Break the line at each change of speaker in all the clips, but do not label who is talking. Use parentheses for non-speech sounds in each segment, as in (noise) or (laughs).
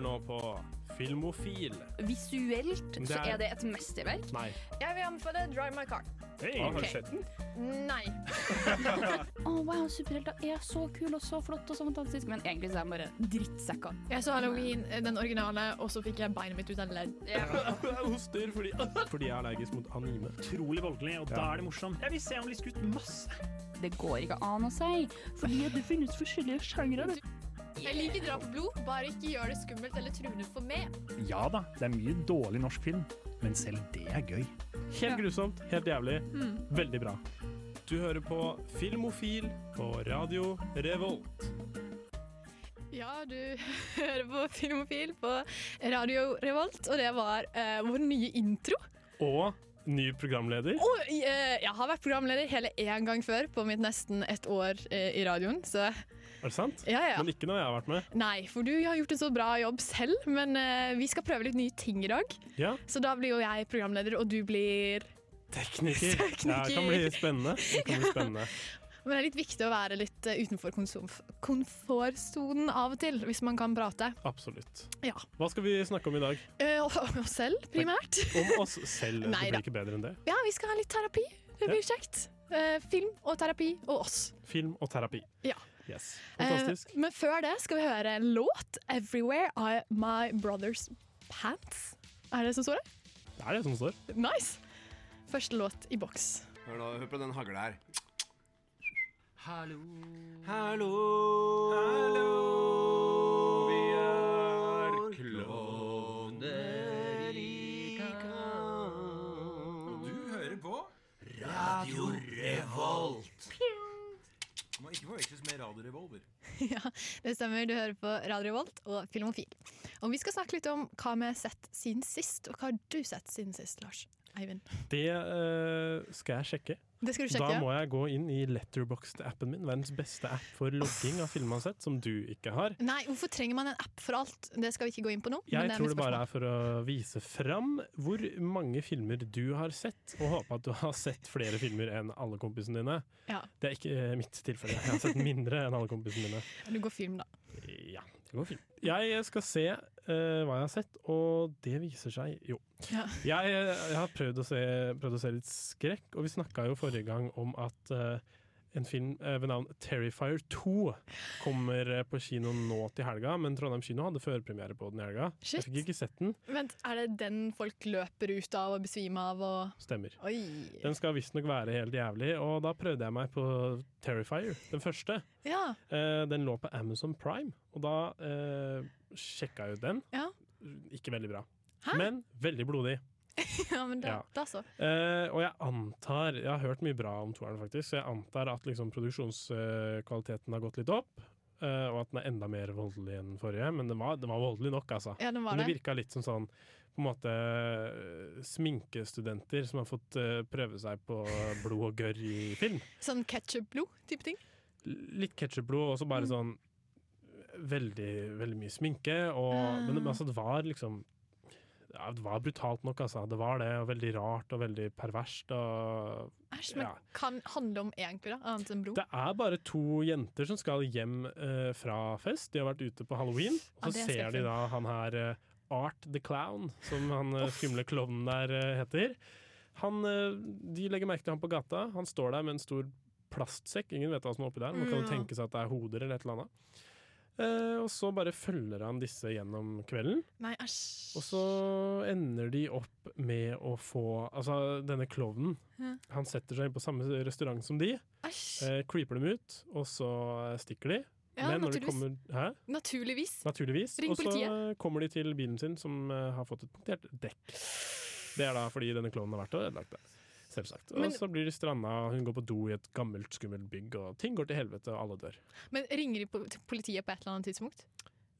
nå på Filmofil.
Visuelt
Det
så
er-
er det et mesterverk.
Nei.
Jeg vil anbefale Drive My Car.
Hey,
Ok.
Har du sett den?
Nei.
Å, wow, superhelter er så kul og så flott og så fantastisk. Men egentlig så er de bare drittsekker.
Jeg så Halloween, eh, den originale, og så fikk jeg beinet mitt ut av ledd.
Jeg hoster fordi, (laughs) fordi jeg er allergisk mot anime.
Utrolig voldelig, og
Ja.
da er det morsomt. Jeg vil se om de skutt masse.
Det går ikke an å si, fordi det finnes forskjellige sjangre.
Jeg liker drap og blod, bare ikke gjør det skummelt eller truende for meg.
Ja da, det er mye dårlig norsk film, men selv det er gøy.
Helt grusomt, helt jævlig.
Mm.
Veldig bra. Du hører på Filmofil på Radio Revolt.
Ja, du (laughs) hører på Filmofil på Radio Revolt, og det var eh, vår nye intro.
Og ny programleder.
Og eh, jeg har vært programleder hele én gang før på mitt nesten ett år eh, i radioen, så
Er det sant?
ja, ja.
Men ikke når jeg har vært med.
Nei, for du har gjort en så bra jobb selv, men eh, vi skal prøve litt nye ting i dag.
Ja,
Så da blir jo jeg programleder, og du blir
tekniker.
Tekniker.
Ja, det kan bli spennende. Det kan bli
(laughs)
spennende.
Men det er litt viktig å være litt eh, utenfor konsum- komfortsonen av og til, hvis man kan prate.
Absolutt.
Ja.
Hva skal vi snakke om i dag?
Eh, og- og oss selv, primært.
Om oss selv. Det
Nei da.
blir ikke bedre enn det.
Ja, vi skal ha litt terapi. Det blir kjekt. Eh, film og terapi og oss.
Film og terapi.
Ja.
Yes. Fantastisk.
Eh, men før det skal vi høre en låt. 'Everywhere I My Brother's Pants'. Er det som står der?
Det er det som står.
Nice! Første låt i boks.
Hør, da, hør på den hagla her. Hallo. Hallo. Vi er klovner i kamp.
Du hører på
Radio Revolt.
Må ikke forveksles med Radio Revolver.
(laughs) ja, det stemmer. Du hører på Radio Volt og Filmofil. Og vi skal snakke litt om hva vi har sett siden sist, og hva har du sett siden sist, Lars Eivind?
Det eh, skal jeg sjekke.
Det skal du
Da
sjekke.
må jeg gå inn i Letterboxd-appen min, verdens beste app for logging av film man har sett, som du ikke har.
Nei, hvorfor trenger man en app for alt? Det skal vi ikke gå inn på nå. men
Jeg
er
tror
mitt
det bare
spørsmål.
er for å vise fram hvor mange filmer du har sett, og håpe at du har sett flere filmer enn alle kompisene dine.
Ja,
Det er ikke eh, mitt tilfelle. Jeg har sett mindre enn alle kompisene mine.
Du går film, da.
Ja, det går fint. Jeg skal se eh, hva jeg har sett, og det viser seg jo.
Ja.
Jeg, eh, jeg har prøvd å, se, prøvd å se litt skrekk, og vi snakka jo forrige gang om at eh, en film eh, ved navn Terrifier 2 kommer eh, på kino nå til helga, men Trondheim kino hadde førpremiere på den i helga.
Shit.
Jeg fikk ikke sett den.
Vent, er det den folk løper ut av og besvimer av og
Stemmer.
Oi.
Den skal visstnok være helt jævlig, og da prøvde jeg meg på Terrifier, den første.
Ja. (laughs)
Eh, den lå på Amazon Prime, og da eh, sjekka jeg ut den.
Ja.
Ikke veldig bra. Men veldig blodig.
ja, men da,
Ja.
da så.
Eh, og jeg antar Jeg har hørt mye bra om toeren, faktisk, så jeg antar at liksom, produksjonskvaliteten har gått litt opp. eh, og at den er enda mer voldelig enn den forrige, men den var, den var voldelig nok, altså.
Ja, den var
men det
det.
virka litt som sånn på en måte eh, sminkestudenter som har fått eh, prøve seg på blod og gørr i film.
Sånn ketsjup-blod-type ting.
litt ketsjupblod, og så bare sånn veldig, veldig mye sminke. Og, Men men altså, det var liksom ja, Det var brutalt nok, altså. Det var det, og veldig rart og veldig perverst. Og
Æsj, men
Ja.
kan handle om egentlig, da? Annet enn blod?
det er bare to jenter som skal hjem eh, fra fest. De har vært ute på halloween, og så
Ja, det er
ser de
skrekkfilm.
da han her eh, Art the Clown, som han eh, skumle klovnen der eh, heter. Han, eh, de legger merke til han på gata. Han står der med en stor plastsekk. Ingen vet hva som er oppi der. Man
Mm.
kan jo tenke seg at det er hoder eller et eller annet. Eh, og så bare følger han disse gjennom kvelden.
Nei, æsj.
Og så ender de opp med å få Altså, denne klovnen, han setter seg inn på samme restaurant som de.
Æsj.
Eh, creeper dem ut, og så eh, stikker de.
Ja,
Men når de
naturligvis.
kommer Hæ?
Naturligvis.
Naturligvis.
Ring
Og så
politiet.
eh, kommer de til bilen sin, som eh, har fått et punktert dekk. Det er da fordi denne klovnen har vært og ødelagt det. Selvsagt. Og
Men-
så blir de stranda, og hun går på do i et gammelt, skummelt bygg, og ting går til helvete, og alle dør.
Men ringer de po- til politiet på et eller annet tidspunkt?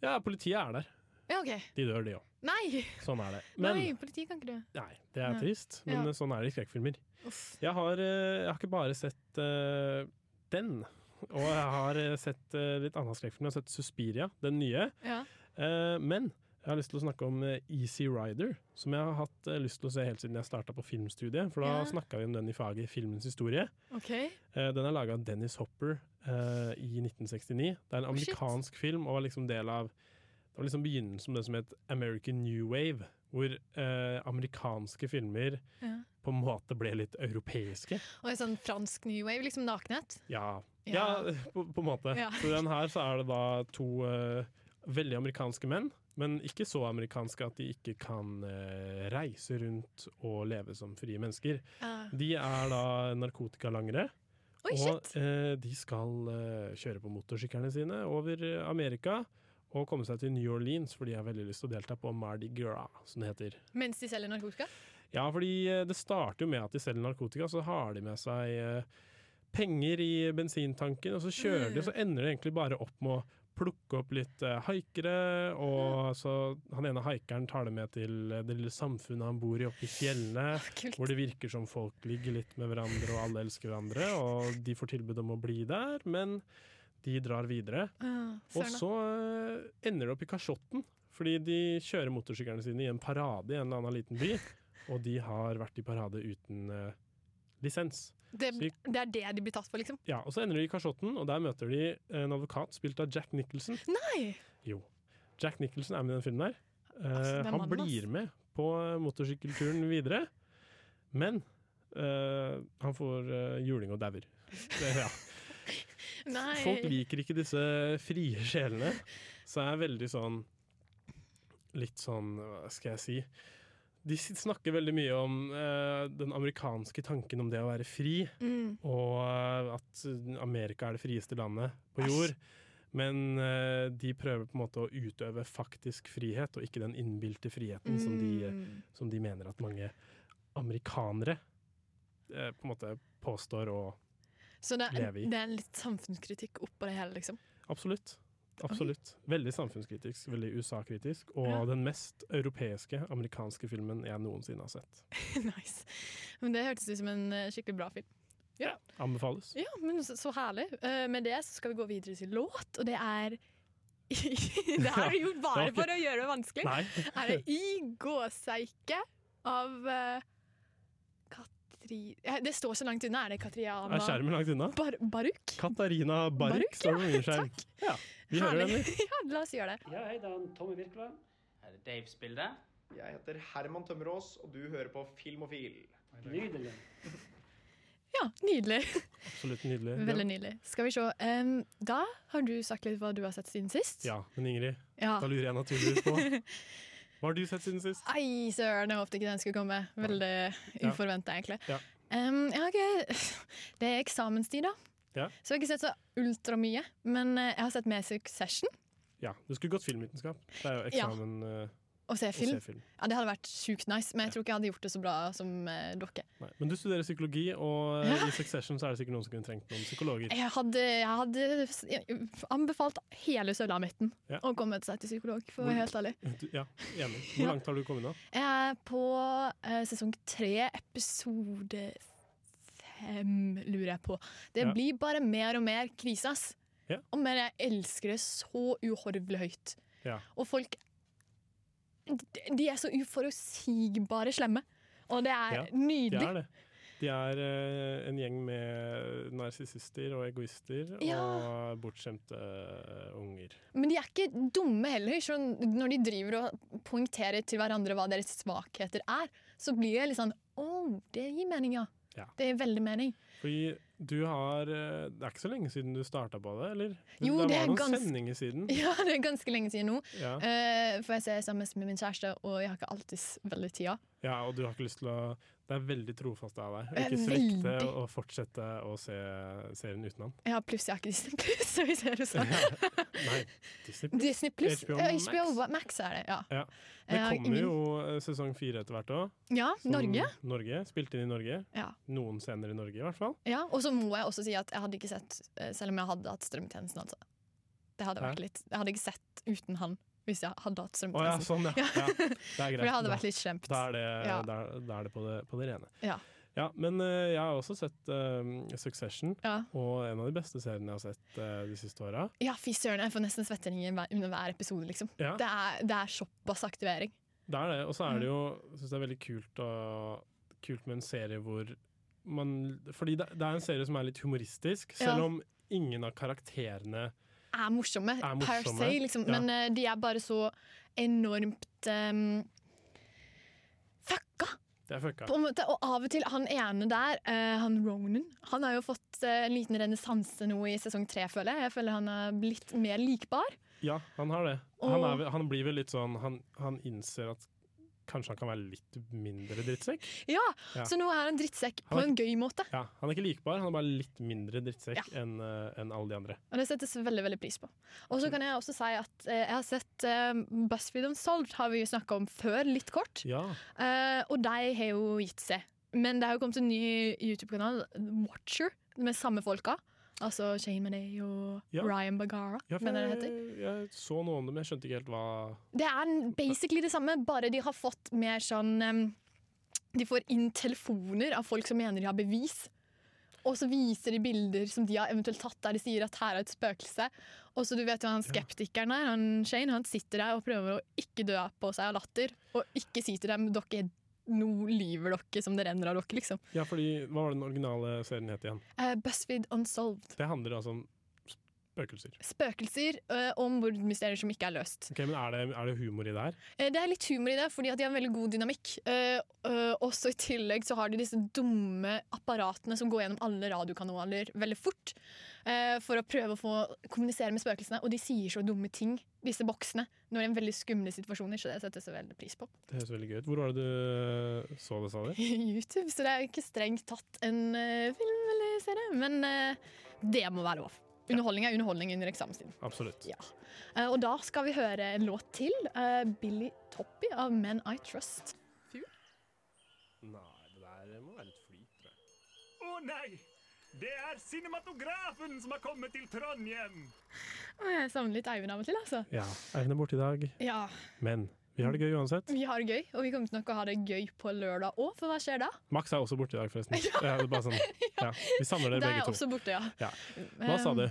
Ja, politiet er der.
Ja, OK.
De dør, de òg.
Nei!
Sånn er det. Men
Nei,
nei,
politiet kan ikke det.
det er
Ja.
trist, men
Ja.
eh, sånn er det i skrekkfilmer.
Uff.
Jeg har, eh, jeg har ikke bare sett eh, den, og jeg har eh, sett eh, litt annen skrekkfilm. Jeg har sett Suspiria, den nye.
Ja.
Eh, men jeg har lyst til å snakke om eh, Easy Rider, som jeg har hatt eh, lyst til å se helt siden jeg starta på filmstudiet. For da
Ja.
snakket snakka vi om den i faget Filmens historie.
OK.
Eh, den er laga av Dennis Hopper eh, i 1969. Det er en
shit.
amerikansk film og er liksom del av Det var liksom begynnelsen med det som het American New Wave, hvor eh, amerikanske filmer
Ja.
på en måte ble litt europeiske.
Og en sånn fransk new wave, liksom nakenhet.
Ja, ja. (laughs)
Ja.
på, på en måte.
Ja.
Så i den her så er det da to eh, veldig amerikanske menn, men ikke så amerikanske at de ikke kan eh, reise rundt og leve som frie mennesker.
Ja.
De er da narkotikalangere.
Oi,
og
shit!
eh, de skal eh, kjøre på motorsyklene sine over eh, Amerika og komme seg til New Orleans, for de har veldig lyst til å delta på Mardi Gras, som det heter.
Mens de selger narkotika. (laughs)
Ja, fordi eh, det starter jo med at de selger narkotika, så har de med seg eh, penger i bensintanken, og så kjører de, og så ender det egentlig bare opp med å plukke opp litt eh, haikere, og så han ene haikeren tar det med til eh, det lille samfunnet han bor i oppe i fjellene.
Kult.
Hvor det virker som folk ligger litt med hverandre, og alle elsker hverandre, og de får tilbud om å bli der, men de drar videre.
Ja,
Og
Ah, søren, da.
så eh, ender det opp i kasjotten, fordi de kjører motorsyklene sine i en parade i en eller annen liten
(laughs)
by, og de har vært i parade uten eh, lisens.
Det, det er det de blir tatt for, liksom.
Ja, og så ender de i kasjotten, og der møter de eh, en advokat spilt av Jack Nicholson.
Nei!
Jo, Jack Nicholson er med i den filmen her. Eh,
Altså, det er
han
mannen, ass.
blir med på eh, motorsykkelturen videre, men eh, han får eh, juling og
(laughs)
dauer. Det- Ja.
Nei.
Folk liker ikke disse frie sjelene, så jeg er veldig sånn Litt sånn, hva skal jeg si De s- snakker veldig mye om eh, den amerikanske tanken om det å være fri,
Mm.
og eh, at Amerika er det frieste landet på jord. Men eh, de prøver på en måte å utøve faktisk frihet, og ikke den innbilte friheten som, de,
Mm.
som de mener at mange amerikanere eh, på en måte påstår og
Så det er,
lever i.
det er litt samfunnskritikk oppå det hele, liksom. (laughs)
Absolutt. Absolutt. Veldig samfunnskritisk, veldig USA-kritisk, og
Ja.
den mest europeiske amerikanske filmen jeg noensinne har sett.
nice. Men det hørtes ut som en eh, skikkelig bra film.
Anbefales.
Ja, men så, så herlig. Eh, med det så skal vi gå videre til låt, og det er (laughs) Det er jo bare
det var ikke-
for å gjøre det vanskelig. (laughs)
Nei,
Er det I gåseike av eh, Katri... Eh, Det står så langt unna. Er det Katriana
er skjermen langt unna?
Bar Baruk?
Katarina Bark
Baruk,
står på min skjerm.
Takk.
Ja, vi hører
Herlig.
henne.
(laughs) Ja, la oss gjøre det.
Ja, hei, det er han Tommy Virkola.
Her er Daves bilde.
Jeg heter Herman Tømmerås, og du hører på Filmofil.
Nydelig.
Ja, Nydelig.
Absolutt nydelig.
Veldig nydelig. Skal vi se. em, da har du sagt litt hva du har sett siden sist.
Ja, men Ingrid,
Ja.
da lurer jeg naturligvis
(laughs)
på Hva har du sett siden sist?
Ei, søren, jeg håpet ikke den skulle komme. Veldig
Ja.
uforventa, egentlig.
Ja.
Em, jeg har ikke (laughs) Det er eksamenstid, da.
Ja.
Så jeg har ikke sett så ultramye. Men eh, jeg har sett mer Succession
Ja, du skulle gått filmvitenskap. Det er jo
Ja.
eksamen eh,
og se
å
film.
se film.
Ja, Det hadde vært sjukt nice, men jeg tror ikke jeg hadde gjort det så bra som eh, dere.
Nei. Men du studerer psykologi, og eh, i Succession så er det sikkert noen som kunne trengt noen psykologer.
Jeg hadde, jeg hadde s- anbefalt hele Sørlandsmidten
Ja.
å komme seg til psykolog, for å
Hvor-
være helt ærlig.
Du- Ja, enig.
Ja.
Hvor langt har du kommet nå?
Jeg er på eh, sesong tre, episode fem, lurer jeg på. Det
Ja.
blir bare mer og mer krise, ass.
Ja.
Og men jeg elsker det så uhorvelig høyt.
Ja.
Og folk de- De er så uforutsigbare slemme. Og det er
Ja,
nydelig.
De er det. De er eh, en gjeng med narsissister og egoister
Ja.
og bortskjemte eh, unger.
Men de er ikke dumme heller. Så når de driver og poengterer til hverandre hva deres svakheter er, så blir jeg litt sånn Å, det gir mening, ja.
Ja.
Det gir veldig mening. (laughs)
Fordi du har eh, Det er ikke så lenge siden du starta på det, eller?
Jo,
det
det
var
er
noen
gans-
sendinger siden.
Ja, det er ganske lenge siden nå.
Ja.
Eh, for jeg ser sammen med min kjæreste, og jeg har ikke alltid s- veldig tida.
ja, og du har ikke lyst til å Det er veldig trofast av deg. å
Jeg er
Ikke svikte
veldig-
og fortsette å se serien
(laughs)
utenom.
Jeg har pluss, jeg har ikke Disney Pluss, (laughs) så vi ser det snart.
Nei, Disney
Disney Eh, Pluss,
HBO
HBO, HBO Max er det, ja.
Ja. Det
Jeg har
kommer
ingen-
jo eh, sesong fire etter hvert òg.
Ja, Norge.
Norge. Spilt inn i Norge.
Ja.
Noen scener i Norge, i hvert fall.
Ja, og så må jeg også si at jeg hadde ikke sett, eh, selv om jeg hadde hatt strømtjenesten, altså. Det hadde
Hæ?
vært litt, jeg hadde ikke sett uten han, hvis jeg hadde
(laughs) Å ja,
hatt strømtjenesten.
sånn, ja.
Ja.
ja. Det er greit.
For det hadde
Da-
vært litt slemt.
Da er det,
Ja.
da, da er det på, det på det rene.
Ja.
men eh, jeg har også sett eh, Succession,
Ja.
og en av de beste seriene jeg har sett eh, de siste åra.
ja, fy søren, jeg får nesten svetteringer hver- under hver episode, liksom.
Ja.
Det, er, det er såpass aktivering.
Det er det, og så er
Mm.
det jo Jeg syns det er veldig kult, å, kult med en serie hvor man Fordi det, det er en serie som er litt humoristisk,
Ja.
selv om ingen av karakterene
er morsomme,
Er
per
morsomme,
se, liksom.
ja.
men eh, de er bare så enormt eh, fucka,
Det er fucka.
på en måte. Og av og til, han ene der, eh, han Ronan, han har jo fått eh, en liten renessanse nå i sesong tre, føler jeg. Jeg føler han er blitt mer likbar.
Ja, han har det. Han,
Og-
er, vel- han blir vel litt sånn han, han innser at kanskje han kan være litt mindre drittsekk.
Ja,
Ja.
Så nå er han drittsekk
Han
på
er
en gøy måte,
Ja, Han er ikke likbar, han er bare litt mindre drittsekk
Ja.
enn eh, enn alle de andre.
og det settes veldig veldig pris på. Og
Mm.
så kan jeg også si at eh, jeg har sett eh, BuzzFeed Unsolved, har vi jo snakka om før, litt kort.
Ja,
Eh, og de har jo gitt seg. Men det har jo kommet en ny YouTube-kanal, Watcher, med samme folka. Altså Shane Manet og
Ja.
Ryan Bagara.
ja for
mener jeg det,
jeg,
heter.
Eh, jeg så noe om det, men jeg skjønte ikke helt hva
det er basically det samme, bare de har fått mer sånn em, De får inn telefoner av folk som mener de har bevis. Og så viser de bilder som de har eventuelt tatt der de sier at her er et spøkelse. Og så du vet jo han skeptikeren her, han Shane, han sitter der og prøver å ikke dø på seg av latter. Og ikke si til dem dere er- nå lyver dere som det renner av dere, liksom.
Ja, fordi, Hva var den originale serien het igjen?
Eh, BuzzFeed Unsolved.
Det handler altså om spøkelser.
Spøkelser eh, om mordmysterier som ikke er løst.
Ok, men er det, er det humor i det her?
Eh, det er litt humor i det, fordi at de har en veldig god dynamikk. Eh, eh, også I tillegg så har de disse dumme apparatene som går gjennom alle radiokanaler veldig fort eh, for å prøve å få kommunisere med spøkelsene, og de sier så dumme ting, disse boksene, når det er veldig skumle situasjoner, så det settes jeg veldig pris på. (laughs)
Det høres veldig gøy ut. Hvor var det du eh, så det, sa du?
YouTube, så det er ikke strengt tatt en eh, film eller serie, men eh, det må være lov. Underholdning er underholdning under eksamenstiden.
Absolutt.
Ja. Eh, Og da skal vi høre en låt til. eh, Billy Toppy av Men I Trust.
Nei, det der må være litt flyt, tror jeg.
Å nei! Det er cinematografen som har kommet til Trondheim!
Å, Jeg savner litt Eivind av og til, altså.
Ja, Eivind er borte i dag,
Ja,
men vi har det gøy uansett.
Vi har det gøy, og vi kommer til nok å ha det gøy på lørdag òg, for hva skjer da?
Max er også borte i dag, forresten.
(laughs)
Ja, det er bare sånn. ja. Vi samler
Da
dere
er jeg
begge to.
også borte, ja.
Ja. Hva sa du?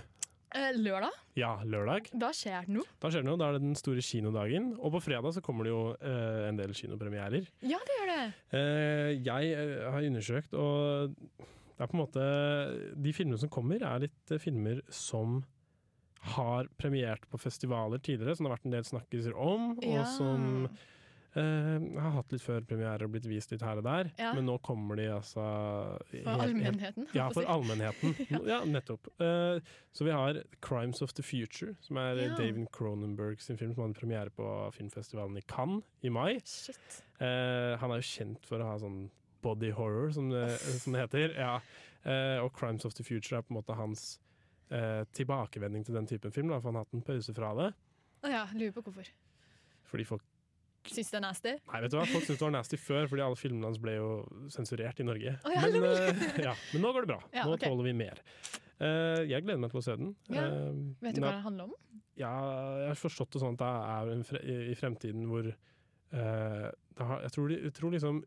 Eh, Lørdag,
Ja, lørdag.
da skjer det noe.
Da skjer det noe. Da er det den store kinodagen. Og på fredag så kommer det jo eh, en del kinopremierer.
Ja, det gjør det.
Eh, jeg eh, har undersøkt, og det er på en måte De filmene som kommer, er litt eh, filmer som har premiert på festivaler tidligere, som det har vært en del snakkiser om,
Ja.
og som eh, har hatt litt før premiere og blitt vist litt her og der.
Ja.
Men nå kommer de altså
For
helt- helt-
allmennheten.
ja,
holdt
for
jeg på å si.
allmennheten. Ja, nettopp. Eh, så vi har 'Crimes of the Future', som er eh,
Ja.
David Cronenberg sin film som hadde premiere på filmfestivalen i Cannes i mai.
Shit.
Eh, han er jo kjent for å ha sånn body horror, som det, som det heter. Ja. Eh, og 'Crimes of the Future' er på en måte hans eh, tilbakevending til den typen film, da, for han har hatt en pause fra det.
Å ja, lurer på hvorfor.
Fordi folk
Syns det er nasty?
Nei, vet du hva? Folk syntes det var nasty før, fordi alle filmene hans ble jo sensurert i Norge.
Å, ja,
men,
lol.
eh, (laughs) ja, men nå går det bra.
Ja,
nå
ok.
tåler vi mer. Eh, jeg gleder meg til å se den.
Ja.
Eh,
Vet du
men
hva
at-
det handler om?
Ja, jeg har forstått det sånn at det er en fre i i fremtiden hvor eh, det har, jeg, tror de, jeg tror liksom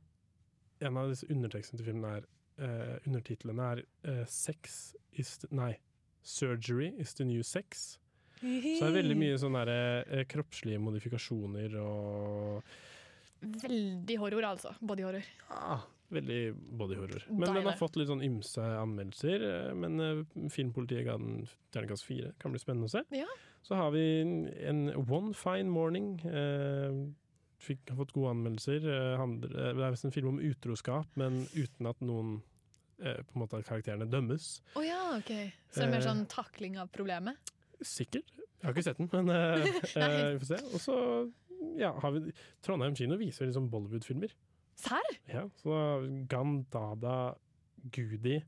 en av disse undertekstene til filmen er eh, Undertitlene er eh, Sex is the, Nei. Surgery is the new sex. Så det er veldig mye sånne der, eh, kroppslige modifikasjoner og
Veldig horror, altså. Bodyhorror.
Ja, Ah, veldig bodyhorror. Men
Deilig.
den har fått litt sånn ymse anmeldelser. eh, Men eh, filmpolitiet ga den terningkast fire. Kan bli spennende å se.
Ja.
Så har vi en- en One Fine Morning. eh, Fikk, har fått gode anmeldelser. eh, handler- eh, Det er visst en film om utroskap, men uten at noen eh, på en måte at karakterene dømmes.
Å ja, ok. Så det er mer
Eh.
sånn takling av problemet?
Sikkert. Jeg har ikke sett den, men
(laughs)
eh, eh, vi får se. Og så ja, har vi Trondheim kino viser liksom Bollywood-filmer.
Serr?
Ja, så Gandada Gudi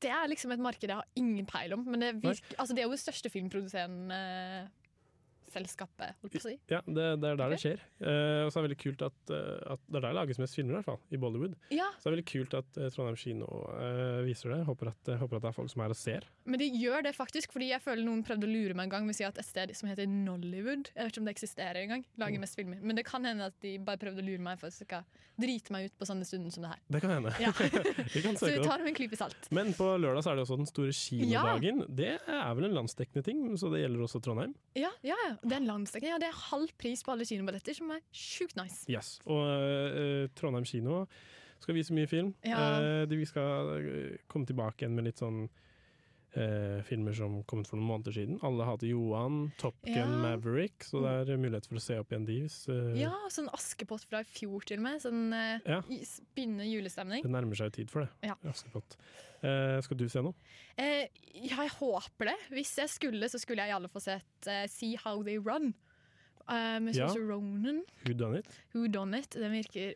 Det er liksom et marked jeg har ingen peil om. Men det, virker, altså det er jo det største filmproduserende selskapet, holdt på å si.
Ja, det, det er der det skjer. Eh, og så er det veldig kult at, eh, at det er der det lages mest filmer, i hvert fall. I Bollywood.
Ja,
Så det er veldig kult at eh, Trondheim kino eh, viser det. Håper at, håper at det er folk som er og ser.
Men de gjør det faktisk, fordi jeg føler noen prøvde å lure meg en gang med å si at et sted som heter Nollywood, jeg vet ikke om det eksisterer engang,
Mm.
lager mest filmer. Men det kan hende at de bare prøvde å lure meg for at jeg skal drite meg ut på sånne stunder som det her.
Det kan hende.
Ja.
Vi kan
(laughs) Så
søke
vi
det opp.
tar det med en klype salt.
Men på lørdag så er det også den store kinodagen. Det er vel en landsdekkende ting, så det gjelder også Trondheim.
Ja, ja, ja. Det er en landsdekkende. Ja, det er halv pris på alle kinobilletter, som er sjukt nice.
Yes. Og eh, Trondheim kino skal vise mye film.
Ja.
Eh, de, vi skal eh, komme tilbake igjen med litt sånn eh, eh, filmer som kom ut for noen måneder siden. Alle hater Johan, Top Gun,
Ja.
Maverick, så det er eh, mulighet for å se opp igjen de hvis eh,
Ja, sånn Askepott fra i fjor til og med. Sånn eh,
Ja.
i- spinnende julestemning.
det nærmer seg jo tid for det.
Ja.
Askepott. Eh, skal du se noe?
Eh, ja, jeg håper det. Hvis jeg skulle, så skulle jeg i alle fall sett eh, See How They Run. Eh, med
Ja.
Saoirse Ronan.
Who done it?
Who Done It. Den virker,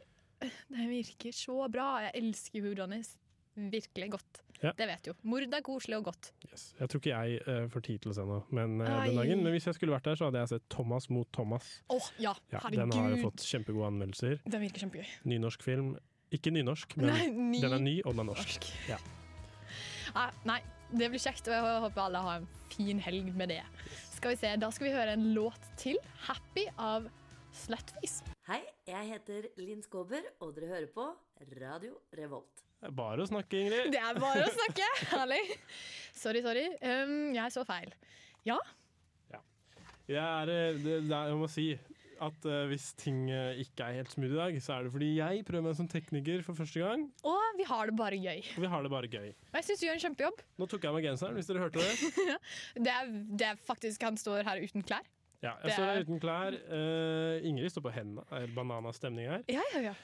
den virker så bra. Jeg elsker Who Done It virkelig godt.
Ja.
Det vet du jo. Mord er koselig og godt.
Yes. Jeg tror ikke jeg eh, får tid til å se noe men, eh, den
Ai.
dagen. Men hvis jeg skulle vært der, så hadde jeg sett Thomas mot Thomas.
Åh, ja,
Ja, den
herregud!
har jo fått kjempegode anmeldelser.
Den virker kjempegøy.
Nynorsk film. Ikke nynorsk, men
Nei, ny-
den er ny, og den er norsk. Ja.
Nei, nei, det blir kjekt, og jeg håper alle har en fin helg med det. Skal vi se, Da skal vi høre en låt til. 'Happy' av Slutface.
Hei, jeg heter Linn Skåber, og dere hører på Radio Revolt.
Det er Bare å snakke, Ingrid.
Det er bare å
(laughs)
snakke! Herlig. Sorry, sorry. Um, jeg så feil. Ja,
Jeg, er, eh, det, det er, jeg må si at eh, hvis ting eh, ikke er helt smooth i dag, så er det fordi jeg prøver meg som tekniker for første gang,
og vi har det bare gøy.
og vi har det bare gøy.
Og jeg syns du gjør en kjempejobb.
Nå tok jeg av meg genseren, hvis dere hørte det.
Det er, det er faktisk Han står her uten klær.
Ja,
Det
jeg står her
er-
uten klær. Eh, Ingrid står på hendene. Det er bananastemning her.
Ja, ja, ja.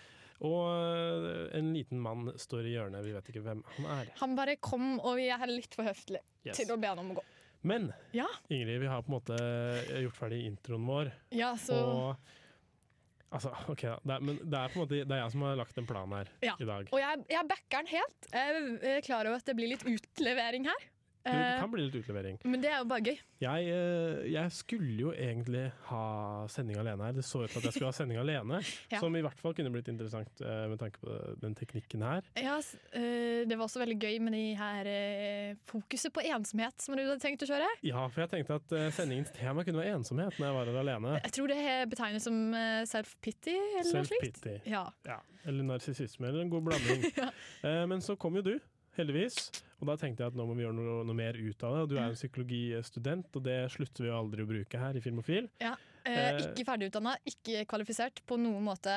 Og eh, en liten mann står i hjørnet. Vi vet ikke hvem han er.
Han bare kom, og jeg er litt for høflig
Yes.
til å be han om å gå.
Men
Ja.
Ingrid, vi har på en måte eh, gjort ferdig introen vår.
Ja, så...
Og Altså, OK, da. Det er, men det er på en måte det er jeg som har lagt en plan her
Ja.
i dag.
Og jeg, jeg backer den helt. Jeg er klar over at det blir litt utlevering her.
Jo, Det
Eh,
kan bli litt utlevering.
men det er jo bare gøy.
Jeg, eh, jeg skulle jo egentlig ha sending alene her. Det så ut til at jeg skulle ha sending alene,
(laughs) Ja.
som i hvert fall kunne blitt interessant eh, med tanke på den teknikken her.
Ja, s- eh, det var også veldig gøy med de her eh, fokuset på ensomhet som du hadde tenkt å kjøre.
Ja, for jeg tenkte at eh, sendingens tema kunne være ensomhet når jeg var her alene.
Jeg tror det he- betegnes som eh, self-pity Eh, eller noe slikt.
Self-pity.
Ja.
Ja. Eller narsissisme, eller en god blanding.
(laughs)
Eh, men så kom jo du, heldigvis. Og da tenkte jeg at nå må vi gjøre noe, noe mer ut av det. Og du er jo psykologistudent, og det slutter vi jo aldri å bruke her i Filmofil.
Eh,
Eh,
ikke ferdigutdanna, ikke kvalifisert på noen måte.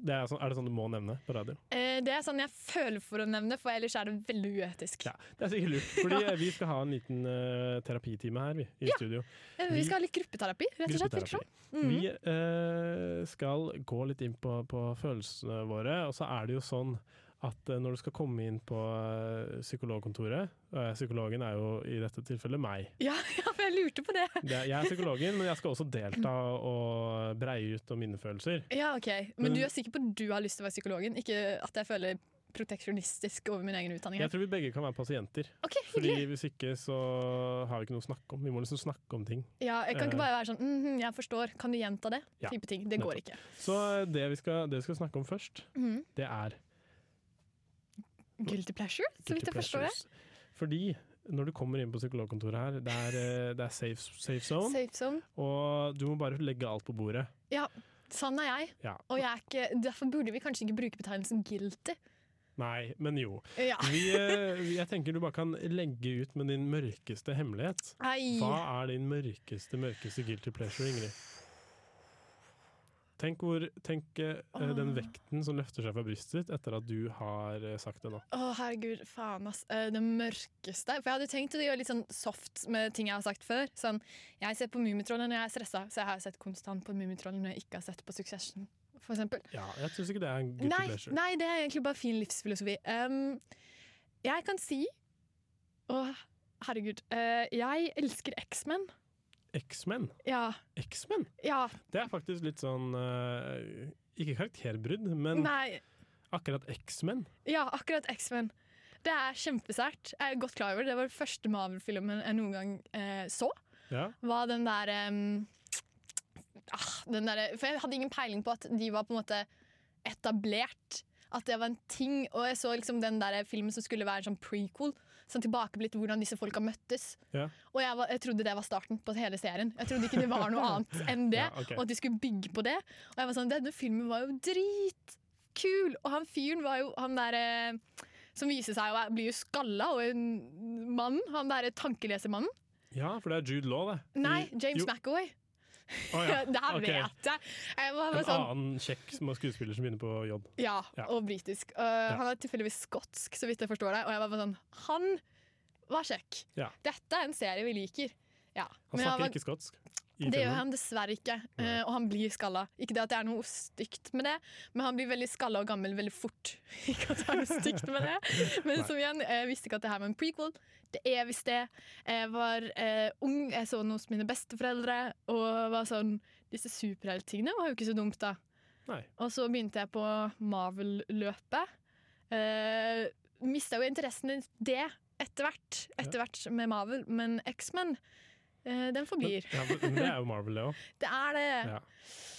Det er, sånn, er det sånn du må nevne på radio?
Eh, det er sånn jeg føler for å nevne, for ellers er det veldig uetisk.
Ja, Det er sikkert lurt,
(laughs)
fordi eh, vi skal ha en liten eh, terapitime her vi, i
Ja.
studio.
Eh, Vi skal ha litt gruppeterapi, rett og slett. sånn.
Gruppeterapi.
Mm. Mhm. virker det som.
Mm. Vi eh, skal gå litt inn på, på følelsene våre, og så er det jo sånn at eh, når du skal komme inn på eh, psykologkontoret eh, Psykologen er jo i dette tilfellet meg.
Ja, (laughs) ja, for jeg lurte på det.
Det, jeg er psykologen, men jeg skal også delta og breie ut om mine følelser.
Ja, ok. Men
Men-
du er sikker på at du har lyst til å være psykologen? Ikke at jeg føler proteksjonistisk over min egen utdanning?
Jeg
her.
tror vi begge kan være pasienter.
Ok, hyggelig.
Fordi Hvis ikke så har vi ikke noe å snakke om. Vi må liksom snakke om ting.
Ja, jeg kan
eh,
ikke bare være sånn mhm, 'jeg forstår, kan du gjenta det?'
Ja,
type ting. Det går ikke.
Så eh, det vi skal, det vi skal snakke om først,
Mhm.
det er
Guilty pleasure, så vidt jeg forstår det.
pleasures. Fordi når du kommer inn på psykologkontoret her, det er, eh, det er safe, safe zone,
Safe zone.
og du må bare legge alt på bordet.
Ja, sann er jeg.
Ja.
Og jeg er ikke, derfor burde vi kanskje ikke bruke betegnelsen guilty.
Nei, men jo.
Ja.
Vi, eh, jeg tenker du bare kan legge ut med din mørkeste hemmelighet.
Nei.
Hva er din mørkeste, mørkeste guilty pleasure, Ingrid? Tenk, hvor, tenk eh, den vekten som løfter seg fra brystet ditt etter at du har eh, sagt det nå.
Å, herregud, faen, ass. Eh, Det mørkeste. For jeg hadde tenkt å gjøre litt sånn soft med ting jeg har sagt før. Sånn, jeg ser på Mummitrollet når jeg er stressa, så jeg har sett konstant på Mummitrollet når jeg ikke har sett på Succession, for eksempel.
Ja, jeg syns ikke det er en guilty
Nei,
pleasure.
nei, det er egentlig bare fin livsfilosofi. Um, jeg kan si Å, herregud. eh, jeg elsker X-Men.
X-Men.
Ja.
X-Men!
Ja.
Det er faktisk litt sånn eh, Ikke karakterbrudd, men
Nei.
akkurat X-Men.
Ja, akkurat X-Men. Det er kjempesært. Jeg er godt klar over det. Det var den første Marvel-filmen jeg noen gang eh, så.
Ja.
Var den der em, ah, den derre- For jeg hadde ingen peiling på at de var på en måte etablert. At det var en ting. Og jeg så liksom den der filmen som skulle være en sånn prequel. Sånn tilbakeblitt hvordan disse folka møttes.
Ja.
Og jeg, var, jeg trodde det var starten på hele serien. Jeg trodde ikke det
(laughs)
var noe annet enn det.
Ja, ok.
Og at de skulle bygge på det. Og jeg var sånn, denne filmen var jo dritkul! Og han fyren var jo han derre som viser seg å være- bli jo skalla, og en mann. Han derre tankelesermannen.
ja, for det er Jude Law, det.
Nei,
I-
James
Mm, jo.
McAvoy.
Å ja.
(laughs) Det her
ok.
vet jeg. jeg var
En
bare sånn,
annen kjekk som er skuespiller som begynner på J.
ja,
Ja.
Og britisk. Uh, Han er tilfeldigvis skotsk, så vidt jeg forstår det. Og jeg var bare sånn Han var kjekk.
Ja.
Dette er en serie vi liker. Ja.
Han
Men jeg
snakker
var-
ikke skotsk. i
det gjør
filmen.
han dessverre ikke, eh, og han blir skalla. Ikke det at det er noe stygt med det, men han blir veldig skalla og gammel veldig fort. (laughs) Ikke at det er noe stygt med det, men som igjen, jeg visste ikke at det her var en prequel. Det er visst det. Jeg var eh, ung, jeg så den hos mine besteforeldre, og var sånn Disse superhelttingene var jo ikke så dumt, da.
Nei.
Og så begynte jeg på Marvel-løpet. Eh, Mista jo interessen i det etter hvert, etter hvert med Marvel, men X-Men, eh, den forblir.
Ja, men men det er jo Marvel, det òg.
Det er det.
Ja.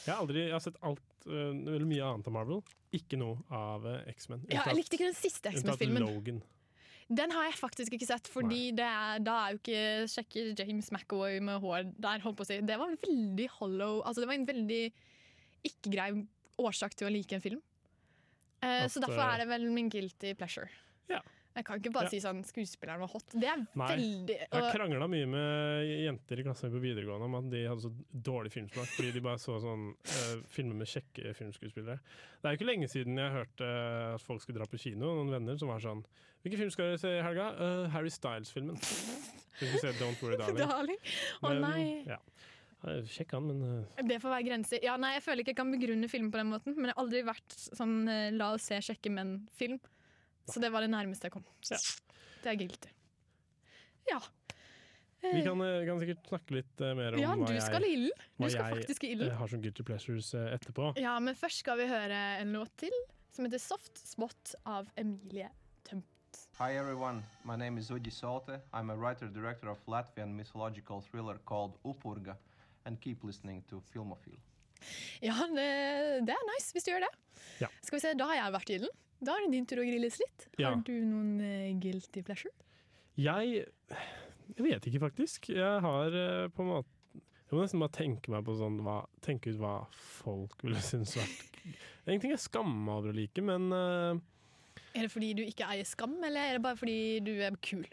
Jeg har aldri jeg har sett alt, øh, eller mye annet av Marvel. Ikke noe av øh, X-Men.
Ja, jeg
Unntatt-
likte ikke den siste
unntatt
X-Men-filmen.
Logan.
Den har jeg faktisk ikke sett, fordi det er, da er jo ikke sjekker James McAvoy med hår der, holdt på å si. Det var en veldig hollow Altså, det var en veldig ikke-grei årsak til å like en film. Eh,
At,
så derfor
eh,
er det vel min guilty pleasure.
Ja.
Jeg kan ikke bare
Ja.
si sånn skuespilleren var hot. Det er
Nei.
veldig
Jeg har
og,
krangla mye med jenter i klassen min på videregående om at de hadde så dårlig filmsmak fordi de bare så sånn øh, filmer med kjekke filmskuespillere. Det er jo ikke lenge siden jeg hørte øh, at folk skulle dra på kino, noen venner som var sånn Hvilken film skal dere se i helga? «Øh, Harry Styles-filmen. Vi skulle se Don't
(laughs)
Worry Darling.
Darling. Å
Men,
nei.
Ja. Ja, Sjekk han, men øh,
Det får være grenser. Ja, nei, Jeg føler ikke jeg kan begrunne film på den måten, men jeg har aldri vært sånn eh, la oss se sjekke menn-film. Så det var det nærmeste jeg kom.
Ja.
Det er guilty. Ja. Eh,
vi kan, øh, kan sikkert snakke litt øh, mer om
ja,
hva
du
jeg
skal i ilden. Du
hva
skal
jeg,
faktisk i
eh,
ilden.
har som guilty pleasures eh, etterpå.
Ja, men først skal vi høre en låt til som heter 'Soft Spot' av Emilie Tømt.
Hi everyone, my name is Udi Sote. I'm a writer director of Latvian mythological thriller called Upurga, and keep listening to Filmophile.
Ja, det, det er nice hvis du gjør det.
Ja.
Skal vi se, Da har jeg vært i ilden. Da er det din tur å grilles litt. Har
Ja.
du noen eh, guilty pleasure?
Jeg Jeg vet ikke, faktisk. Jeg har eh, på en måte Jeg må nesten bare tenke meg på sånn hva, Tenke ut hva folk ville synes vært Ingenting jeg skammer meg over å like, men eh,
Er det fordi du ikke eier skam, eller er det bare fordi du er kul?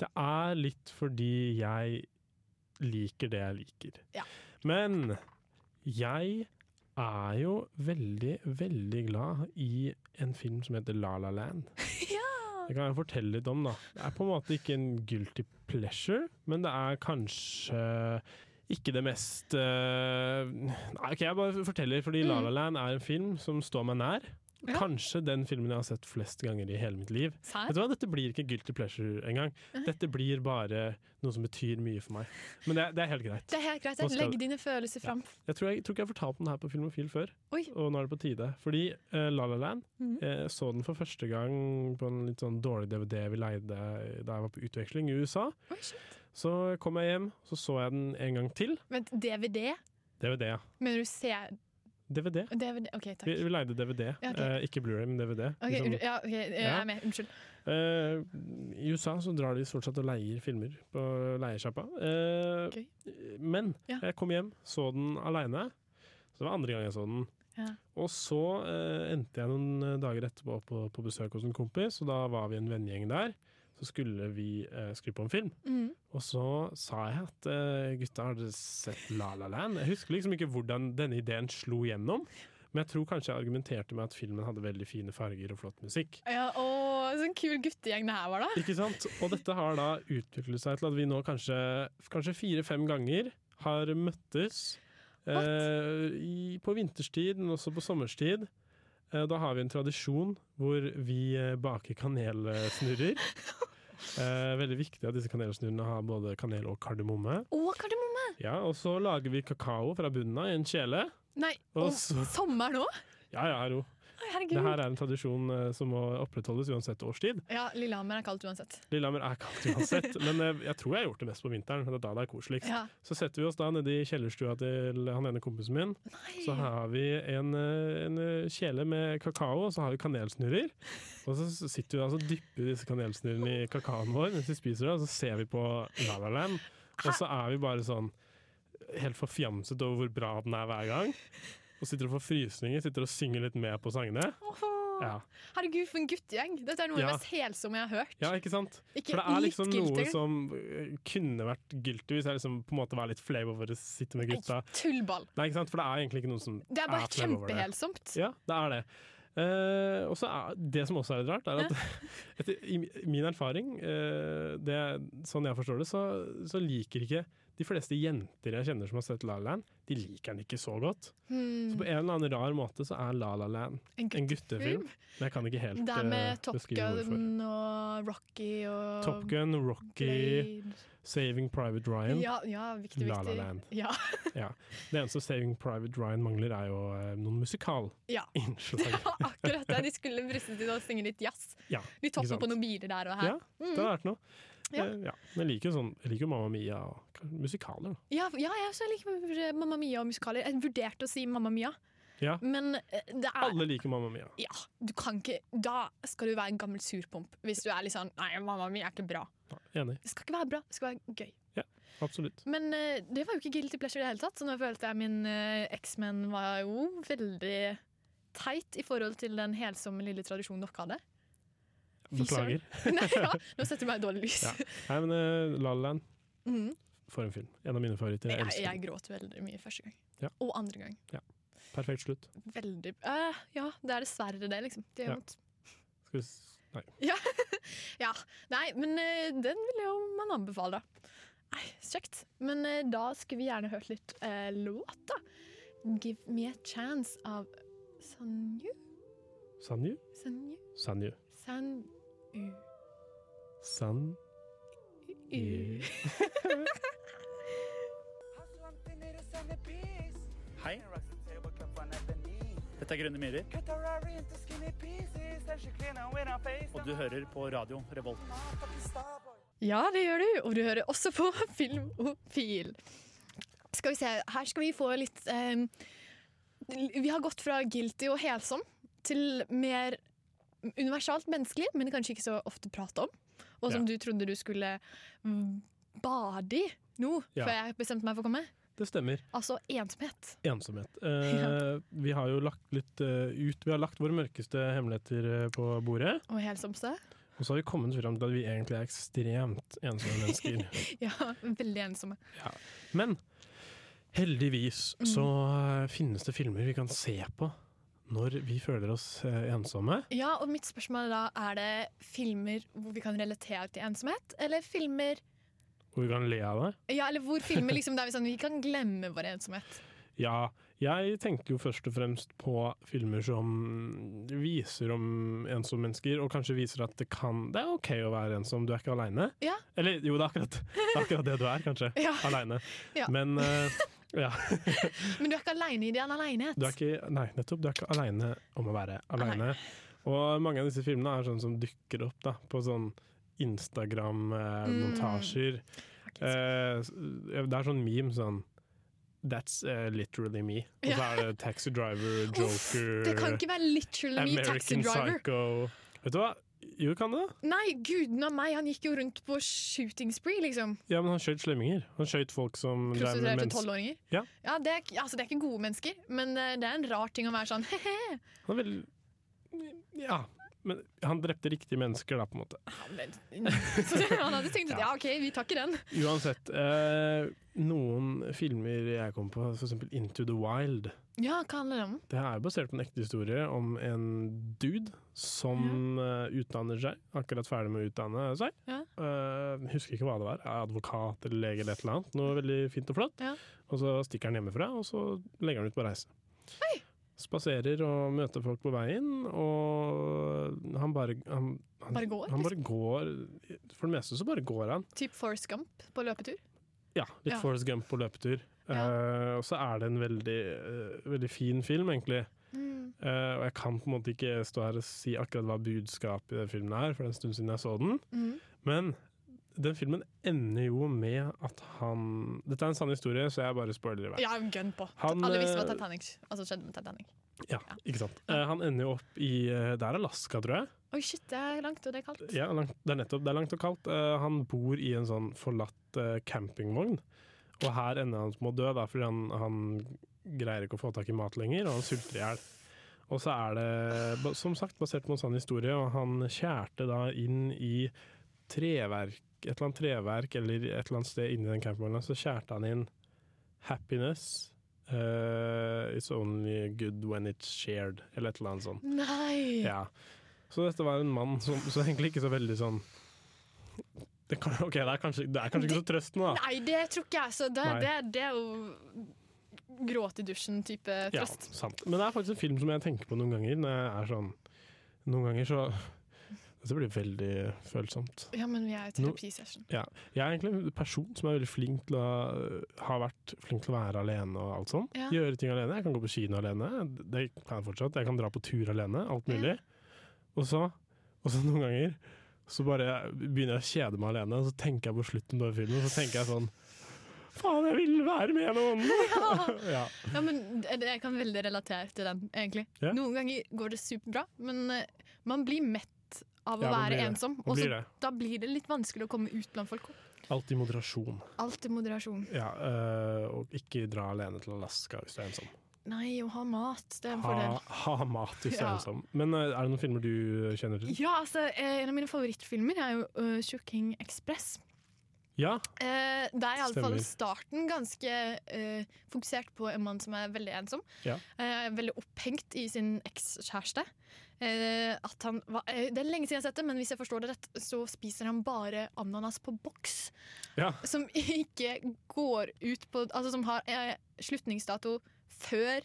det er litt fordi jeg liker det jeg liker.
Ja.
Men jeg er jo veldig, veldig glad i en film som heter La La
(laughs)
Land. Det kan jeg fortelle litt om, da. Det er på en måte ikke en guilty pleasure, men det er kanskje ikke det mest eh, Nei, ok, jeg bare forteller, fordi La La Land er en film som står meg nær.
Mm. Ja.
Kanskje den filmen jeg har sett flest ganger i hele mitt liv.
Sær?
Vet du hva, Dette blir ikke guilty pleasure engang. Dette blir bare noe som betyr mye for meg. Men det, er- det er helt greit.
Det er helt greit.
Nå skal
Legg
du-
dine følelser fram.
Jeg tror, jeg tror ikke jeg har fortalt den her på Filmofil før,
Oi.
og nå er det på tide. Fordi eh, La La Land
Mhm.
eh, så den for første gang på en litt sånn dårlig DVD vi leide da jeg var på utveksling i USA.
Oi, shit.
Så kom jeg hjem, så så jeg den en gang til.
Vent, DVD?
DVD, ja.
Mener du ser
DVD.
DVD? OK, takk.
Vi, vi leide DVD,
Ja, ok.
eh, ikke Blu-ray, men DVD.
Ok,
Liksom-
un- ja, ok, Jeg
Ja.
er med. Unnskyld.
Eh, I USA så drar de stort sett og leier filmer på leiesjappa. Eh,
Gøy.
Men
Ja.
jeg kom hjem, så den aleine. Så det var andre gang jeg så den.
Ja.
Og så eh, endte jeg noen dager etterpå på, på besøk hos en kompis, og da var vi en vennegjeng der. Så skulle vi eh, skru på en film,
Mhm.
og så sa jeg at eh, gutta, har dere sett La La Land? Jeg husker liksom ikke hvordan denne ideen slo gjennom, men jeg tror kanskje jeg argumenterte med at filmen hadde veldig fine farger og flott musikk.
Ja, å, sånn kul guttegjeng det her var, da.
Ikke sant? Og dette har da utviklet seg til at vi nå kanskje, kanskje fire-fem ganger har møttes eh, i, på vinterstid, men også på sommerstid. Eh, da har vi en tradisjon hvor vi eh, baker kanelsnurrer. Eh, veldig viktig at disse kanelsnurrene har både kanel og kardemomme.
Å, kardemomme!
Ja, Og så lager vi kakao fra bunnen av i en kjele.
Nei,
Og
å,
så-
sommer nå? Å,
Ja, ja, ro.
herregud.
Det her er en tradisjon eh, som må opprettholdes uansett årstid.
Ja, Lillehammer er kaldt uansett.
Lillehammer er kaldt uansett, men eh, jeg tror jeg har gjort det mest på vinteren. Det er da det er koseligst.
Ja.
Så setter vi oss da nede i kjellerstua til han ene kompisen min. Så har vi en, eh, en eh, kjele med kakao, og så har vi kanelsnurrer. Og så s- sitter vi da og dypper disse kanelsnurrene i kakaoen vår mens vi spiser det, og så ser vi på La La Land. Og så er vi bare sånn helt forfjamset over hvor bra den er hver gang. Og sitter og får frysninger, sitter og synger litt med på sangene.
Åh.
Ja,
Herregud, for en guttegjeng! Dette er noe av det
Ja.
mest helsomme jeg har hørt.
ja ikke sant?
Ikke
For det er liksom
litt
noe
guilty.
som eh, kunne vært guilty hvis jeg liksom på en måte var litt flau over å sitte med gutta.
Tullball.
Nei, ikke sant? For det er egentlig ikke noen som
Det er bare
flau over det.
kjempehelsomt.
Ja, det er det. Eh, og så er Det som også er litt rart, er at (laughs) etter, i mi- min erfaring, eh, det, er- sånn jeg forstår det, så, så liker ikke de fleste jenter jeg kjenner som har sett La La Land, de liker den ikke så godt.
Hmm.
Så på
Mm.
en eller annen rar måte så er La La Land
En
en
gutt.
guttefilm, men jeg kan ikke helt
Det er
eh,
med Top
beskrive hvorfor.
Gun og Rocky og
Top Gun, Rocky,
Blade.
Saving Private Ryan.
Ja, ja, viktig, viktig.
La La Land. (laughs)
Ja.
Det eneste Saving Private Ryan mangler, er jo eh, noen (laughs)
Ja.
musikalinnslag.
(laughs) Akkurat det. De skulle brystet til å synge litt jazz.
Ja,
Vi
ikke
topper
sant?
på noen biler der og her.
Ja, det har vært noe.
Ja.
Eh, ja. Men jeg liker jo sånn, jeg liker jo Mamma Mia og musikaler. da.
Ja, ja jeg også liker Mamma Mia og musikaler. Jeg vurderte å si Mamma Mia,
Ja.
men eh, det er
Alle liker Mamma Mia.
Ja, du kan ikke Da skal du være en gammel surpomp hvis du er litt sånn Nei, Mamma Mia er ikke bra.
Ja, Enig.
Det skal ikke være bra, det skal være gøy.
Absolutt.
Men eh, det var jo ikke guilty pleasure i det hele tatt, så nå følte jeg min eh, X-Men var jo veldig teit i forhold til den helsomme lille tradisjonen dere hadde. Fy søren.
Beklager.
(laughs) Nei, ja, nå setter du meg i dårlig lys.
Ja. Nei, men eh, La La Land,
Mhm.
for en film. En av mine favoritter. Jeg
Jeg,
elsker
jeg
den.
gråt veldig mye første gang.
Ja.
Og andre gang.
Perfekt slutt.
Veldig eh, Ja, det er dessverre det, liksom. Det
Ja.
gjør vondt.
Skal vi s Nei.
Ja. Nei, men eh, den vil jeg jo man anbefale, da. Nei, kjekt. Men eh, da skulle vi gjerne hørt litt eh, låt, da. 'Give Me A Chance' av Sanju
Sanju?
Sanju
Sanju.
Sanju
San...
U.
Hei. Dette er Grønne Myrer. Og du hører på radio Revolt.
Ja, det gjør du. Og du hører også på (laughs) Filmofil. Skal vi se, her skal vi få litt eh, Vi har gått fra guilty og helsom til mer universalt menneskelig, men kanskje ikke så ofte prate om. Og som du trodde du skulle mm, bade i nå,
Ja.
før jeg bestemte meg for å komme.
Det stemmer.
Altså ensomhet. (laughs)
Ensomhet. Eh, vi har jo lagt litt eh, ut Vi har lagt våre mørkeste hemmeligheter eh, på bordet.
Og helsomste.
Og så har vi kommet fram til at vi egentlig er ekstremt ensomme mennesker.
(laughs) Ja, veldig ensomme.
Men heldigvis
Mm.
så eh, finnes det filmer vi kan se på når vi føler oss eh, ensomme.
Ja, og mitt spørsmål da, er det filmer hvor vi kan relatere til ensomhet, eller filmer
Og vi kan le av det.
Ja, eller hvor filmer liksom der vi, sånn, vi kan glemme vår ensomhet.
Ja, jeg tenker jo først og fremst på filmer som viser om ensomme mennesker, og kanskje viser at det kan Det er OK å være ensom, du er ikke aleine.
Ja.
Eller jo, det er akkurat det, er akkurat det du er,
(laughs)
kanskje.
Ja.
Aleine.
Ja.
Men eh, ja,
Men du er ikke aleine i din alenhet.
du er ikke Nei, nettopp. Du er ikke aleine om å være aleine. Og mange av disse filmene er sånn som dukker opp da, på sånn Instagram-montasjer.
Mm.
Eh, det er sånn meme sånn That's eh, literally me. Og så er det Taxi Driver,
Uff, det
Joker,
kan ikke være literally me, taxi
American
driver.
Psycho Vet du hva? Jo, kan det.
Nei, guden av meg, han gikk jo rundt på shooting spree, liksom.
Ja, men han skjøt slemminger. Han skjøt folk som drev med
Prostituerte
mens...
tolvåringer.
Ja.
det, er, ikke- altså, det er ikke gode mennesker, men eh, det er en rar ting å være sånn (laughs) he-he.
Han er veldig Ja. Men han drepte riktige mennesker, da, på en måte.
Så han hadde tenkt at ja, OK, vi tar ikke den.
Uansett. Eh, noen filmer jeg kom på, f.eks. Into the Wild.
Ja, hva handler det om?
Det her er basert på en ekte historie om en dude som eh, utdanner seg. Akkurat ferdig med å utdanne seg.
Ja.
Eh, husker ikke hva det var. Er advokat eller lege eller et eller annet. Noe veldig fint og flott.
Ja.
Og så stikker han hjemmefra, og så legger han ut på reise. Spaserer og møter folk på veien, og han bare Han, han,
Bare går, liksom?
han bare går. For det meste så bare går han.
Typ Forrest Gump på løpetur?
Ja, litt
Ja.
Forrest Gump på løpetur. Eh, og så er det en veldig, eh, veldig fin film, egentlig.
Mm,
Eh, og jeg kan på en måte ikke stå her og si akkurat hva budskapet i den filmen er, for det er en stund siden jeg så den.
Mhm.
Men den filmen ender jo med at han Dette er en sann historie, så jeg bare spoiler i vei.
Ja, gønn på.
Han,
Alle visste hva
eh,
Titanic altså, skjedde med Titanic.
Ja, ikke sant. Eh, han ender jo opp i eh, Det er Alaska, tror jeg.
Oi, shit, det er langt, og det er kaldt.
Ja, langt, det er nettopp. Det er langt og kaldt. Eh, han bor i en sånn forlatt eh, campingvogn, og her ender han med å dø, da, fordi han, han greier ikke å få tak i mat lenger, og han sulter i hjel. Og så er det, ba- som sagt, basert på en sann historie, og han kjærte da inn i treverk, et eller annet treverk, eller et eller annet sted inni den campingvogna, så kjærte han inn happiness, eh, It's only good when it's shared, eller et eller annet sånt.
Nei!
Ja. Så dette var en mann som så egentlig ikke så veldig sånn det, kan, ok, det, er kanskje, det er kanskje ikke så trøstende, da.
Nei, det tror ikke jeg. Så det,
Nei.
det, det er jo gråt i dusjen-type
Ja,
trøst.
sant. Men det er faktisk en film som jeg tenker på noen ganger. Når jeg er sånn Noen ganger så Dette blir veldig følsomt.
Ja. men vi er i
Nå-
terapisession.
Jeg er egentlig en person som er veldig flink til å øh, Har vært flink til å være alene og alt sånn.
Ja.
Gjøre ting alene. Jeg kan gå på kino alene. Det kan jeg fortsatt. Jeg kan dra på tur alene. Alt mulig. Og så, og så noen ganger så bare begynner jeg å kjede meg alene, og så tenker jeg på slutten av filmen, og så tenker jeg sånn Faen, jeg vil være med noen! ja.
(laughs) Ja, men eh, det- Jeg kan veldig relatere til den, egentlig.
Ja.
Noen ganger går det superbra, men eh, man blir mett av å
Ja, man
være
blir det.
ensom.
Man
Og
blir
så-
det.
da blir det litt vanskelig å komme ut blant folk.
Alt i moderasjon.
Alt i moderasjon.
Ja, øh, og ikke dra alene til Alaska hvis du er ensom.
Nei, å ha mat, det er en
Ha,
fordel.
ha mat hvis du er
Ja.
ensom. Men øh, er det noen filmer du kjenner til?
Ja, altså, eh, En av mine favorittfilmer er jo eh, 'Tjukking Ekspress'.
Ja.
Eh, det er iallfall
Stemmer.
starten ganske eh, fokusert på en mann som er veldig ensom.
Ja.
Eh, veldig opphengt i sin ekskjæreste. Eh, at han var- eh, det er lenge siden jeg har sett det, men hvis jeg forstår det rett, så spiser han bare ananas på boks.
Ja.
Som ikke går ut på Altså som har eh, slutningsdato før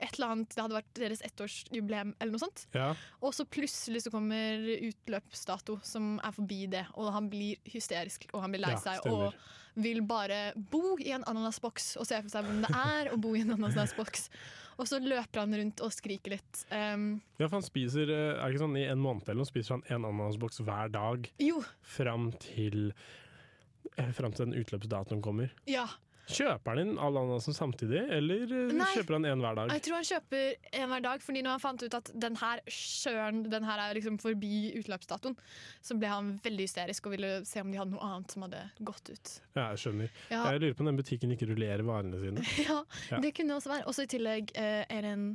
et eller annet Det hadde vært deres ettårsjubileum eller noe sånt.
ja.
Og så plutselig så kommer utløpsdato som er forbi det, og han blir hysterisk og han blir lei
Ja,
seg
stemmer.
og vil bare bo i en ananasboks og se for seg hvem det er å bo i en ananasboks. Og så løper han rundt og skriker litt. Ehm,
Ja, for han spiser øh, er det ikke sånn, I en måned eller noe spiser han en ananasboks hver dag
jo,
fram til eh, Fram til den utløpsdatoen kommer.
ja.
Kjøper han inn all ananasen samtidig, eller øh,
Nei.
kjøper han én hver dag?
Jeg tror han kjøper en hver dag, fordi når han fant ut at den her sjøen den her er liksom forbi utløpsdatoen, så ble han veldig hysterisk og ville se om de hadde noe annet som hadde gått ut.
Ja, jeg skjønner.
Ja.
Jeg lurer på om den butikken ikke rullerer varene sine.
(laughs) Ja,
Ja.
det kunne det også være. Også i tillegg eh, er det en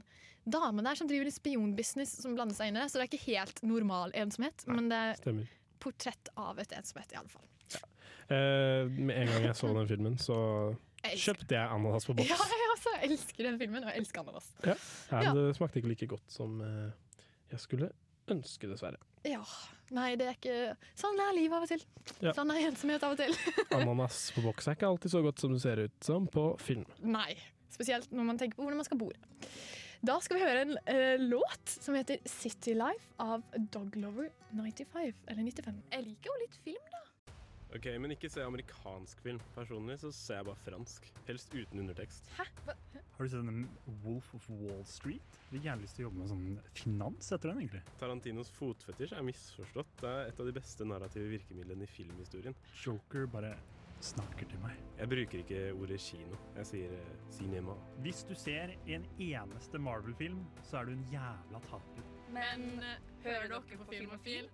dame der som driver en spionbusiness som blander seg inn i det, så det er ikke helt normal ensomhet, men det er
Stemmer.
portrett av et ensomhet i alle fall.
Eh, med en gang jeg så den filmen, så
Jeg elsker-
kjøpte jeg ananas på boks.
Ja, jeg også elsker den filmen, og jeg elsker ananas.
Ja,
Ja.
men Det smakte ikke like godt som eh, jeg skulle ønske, dessverre.
Ja, nei, det er ikke Sånn er livet av og til.
Ja.
Sånn er ensomhet av og til. (laughs)
Ananas på boks er ikke alltid så godt som det ser ut som på film.
Nei. Spesielt når man tenker på hvordan man skal bo. Da skal vi høre en eh, låt som heter 'City Life' av Doglover 95. Eller 95. Jeg liker jo litt film.
Ok, Men ikke se amerikansk film. Personlig så ser jeg bare fransk. Helst uten undertekst.
Har du sett den Wolf of Wall Street? Jeg har gjerne lyst til å jobbe med sånn finans etter den, egentlig.
Tarantinos fotfetisj er misforstått. Det er et av de beste narrative virkemidlene i filmhistorien.
Joker bare snakker til meg.
Jeg bruker ikke ordet kino. Jeg sier eh, cinema.
Hvis du ser en eneste Marvel-film, så er du en jævla taper.
Men eh, hører dere på Filmofil?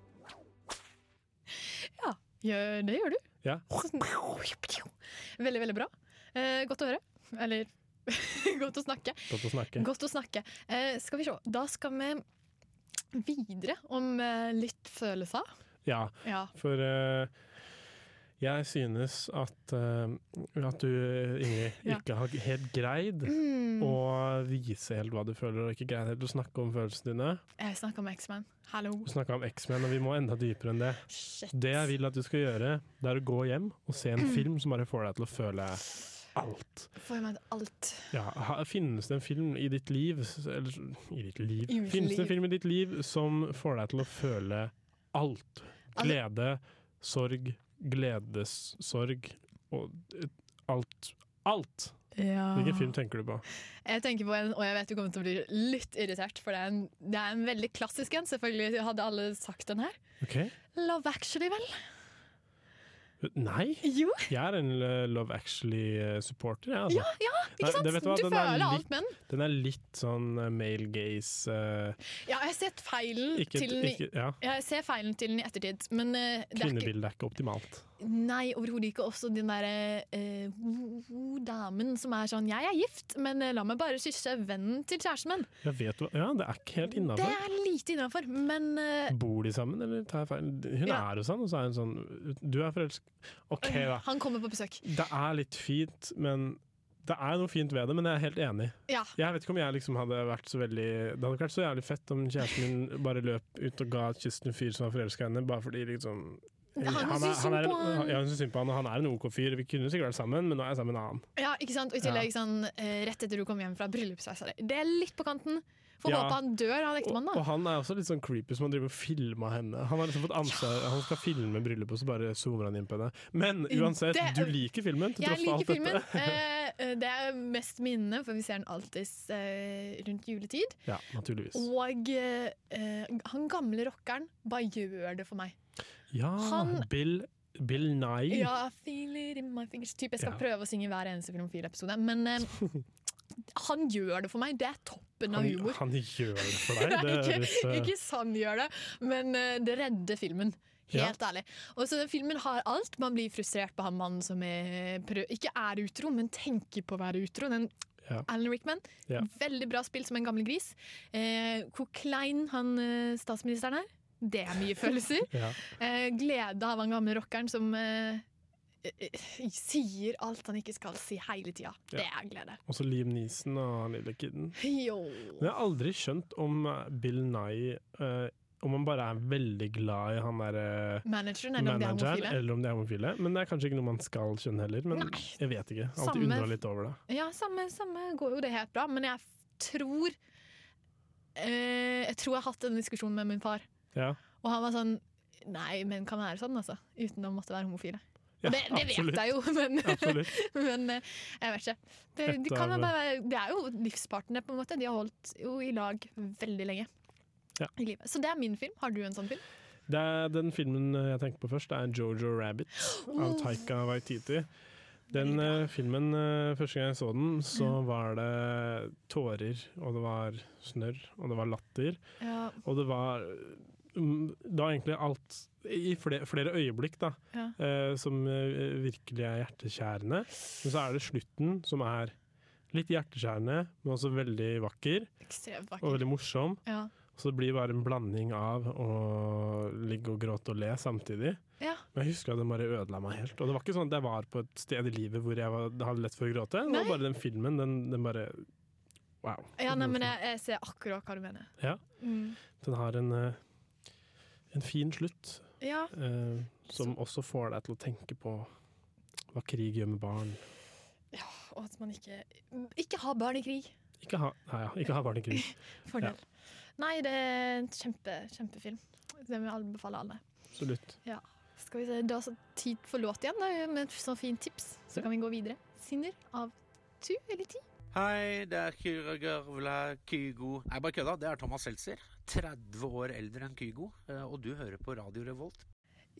Gjør, det gjør du.
Ja.
Sånn. (laughs) Veldig, veldig bra. Eh, godt å høre. Eller (laughs) godt å snakke.
Godt å snakke.
Godt å snakke. Eh, skal vi se. Da skal vi videre om eh, litt følelser.
Ja,
Ja.
for eh, jeg synes at, eh, at du, Ingrid,
(laughs) Ja.
ikke har helt greid
Mm.
Og vise helt hva du føler, og ikke greit helt å snakke om følelsene dine.
Jeg snakka med X-Man. Hallo.
Du snakka om X-Men, og vi må enda dypere enn det.
Shit.
Det jeg vil at du skal gjøre, det er å gå hjem og se en film som bare får deg til å føle alt.
Får jeg meg til alt.
Ja, ha- finnes det en film i ditt liv s- Eller s- i ditt liv
I mitt
Finnes det
liv.
en film i ditt liv som får deg til å føle alt?
Altså-
Glede, sorg, gledessorg og eh, alt. Alt!
Ja.
Hvilken film tenker du på?
Jeg tenker på en, og jeg vet du kommer til å bli litt irritert, for det er en, det er en veldig klassisk en. Selvfølgelig hadde alle sagt den her.
Ok?
Love Actually, vel?
Nei!
Jo.
Jeg er en eh, Love Actually-supporter, jeg, altså. Nei,
Ikke sant?
det vet du hva,
du
den er
føler
litt-
alt med den.
Den er litt sånn eh, male gaze eh,
Ja, jeg har sett feilen
ikke,
til den i-
ikke, ja.
Jeg ser feilen til den i ettertid, men eh, det er ikke,
Kvinnebildet er ikke optimalt.
Nei, overhodet ikke. Også den derre eh, ho- ho- damen som er sånn 'Jeg er gift, men eh, la meg bare kysse vennen til kjæresten min'.
Jeg vet hva, ja, Det er ikke helt
Det
innafor.
er lite innafor, men eh,
Bor de sammen, eller tar jeg feil? Hun
Ja.
er hos han, og så er hun sånn Du er forelsket OK, da.
han kommer på besøk.
Det er litt fint, men Det er noe fint ved det, men jeg er helt enig.
Ja.
Jeg vet ikke om jeg liksom hadde vært så veldig Det hadde ikke vært så jævlig fett om kjæresten min bare løp ut og ga et kyss til en fyr som var forelska i henne, bare fordi liksom
Han syns synd
er,
på han.
Ja, hun syns synd på han, og han er en OK fyr. Vi kunne sikkert vært sammen, men nå er jeg sammen med en annen.
Ja, ikke sant? Og i tillegg sånn, eh, rett etter du kom hjem fra bryllupsreisa. di. Det er litt på kanten. Får
Ja.
håpe han dør, han ektemannen,
Og,
da.
og han er også litt sånn creepy som han driver og filmer henne. Han har liksom fått ansvar Han skal filme bryllupet, og så bare zoomer han inn på henne. Men uansett,
Det-
du liker filmen til
Jeg
tross for alt
liker filmen.
dette.
Eh, eh, det er mest minnene, for vi ser den alltid eh, rundt juletid.
Ja, naturligvis.
Og eh, eh, han gamle rockeren bare gjør det for meg.
Ja,
han-
Bill, Bill Nye.
Ja, feel it in my fingers typ. Jeg skal
Ja.
prøve å synge hver eneste Filmofil-episode, men
(laughs)
eh, han gjør det for meg. Det er toppen av
han,
humor.
han gjør det
(laughs)
for deg. Det
ikke,
høres eh,
ikke sånn gjør det, men eh, det redder filmen. Helt ærlig. Og så den Filmen har alt. Man blir frustrert på han mannen som er prø ikke er utro, men tenker på å være utro. Den
Ja.
Alan Rickman.
Ja.
Veldig bra spilt som en gammel gris. Eh, hvor klein han eh, statsministeren er. Det er mye følelser.
(laughs) ja.
Eh, glede av han gamle rockeren som eh, eh, eh, sier alt han ikke skal si hele tida. Det er glede.
Og så Liam Neeson og han lille kiden.
Jo.
Men jeg har aldri skjønt om eh, Bill Nye eh, Om han bare er veldig glad i han derre
Manageren eller om de er
manageren,
homofile.
eller om de er homofile. Men det er kanskje ikke noe man skal skjønne heller. Men
Nei.
jeg vet ikke.
Samme-
Alltid undra litt over det.
Ja, samme, samme går jo det helt bra, men jeg f- tror eh, Jeg tror jeg har hatt en diskusjon med min far,
Ja,
og han var sånn Nei, men kan være sånn, altså. Uten å måtte være homofile.
ja
det, det vet jeg jo, (laughs) men,
(laughs) Absolutt.
men eh, jeg vet ikke. Det, de
Dette
kan
er-
jo bare være, det er jo livspartnere, på en måte. De har holdt jo i lag veldig lenge.
Ja.
I livet. Så det er min film. Har du en sånn film?
Det er den filmen eh, jeg tenker på først, det er Jojo Rabbit av Taika Waititi. Den eh, filmen, eh, første gang jeg så den, så
Mm.
var det tårer, og det var snørr, og det var latter.
Ja,
Og det var mm, Det var egentlig alt i flere, flere øyeblikk, da,
Ja.
eh, som eh, virkelig er hjerteskjærende. Men så er det slutten som er litt hjerteskjærende, men også veldig vakker
ekstremt
og
vakker.
veldig morsom.
Ja.
Så det blir bare en blanding av å ligge og gråte og le samtidig.
Ja.
Men jeg husker at den bare ødela meg helt. Og det var ikke sånn at jeg var på et sted i livet hvor jeg var, hadde lett for å gråte. Det
Nei.
var bare den filmen, den, den bare Wow.
ja, nei, men jeg, jeg ser akkurat hva du mener.
Ja.
Mm.
Den har en, eh, en fin slutt
ja.
eh, som også får deg til å tenke på hva krig gjør med barn.
Og at man ikke Ikke ha barn i krig.
Ikke ha, nei, ja, ikke ha barn i krig.
(laughs) Fordel. Nei, det er en kjempe, kjempefilm. Den vil jeg anbefale alle.
Absolutt.
Skal vi se, Det er også tid for låt igjen, da, med et sånt fint tips. Så kan vi gå videre. Sinner av Tu eller Ti.
Hei, det er Kyra Garvla Kygo. Nei, bare kødda. Det er Thomas Seltzer. 30 år eldre enn Kygo. eh, Og du hører på Radio Revolt.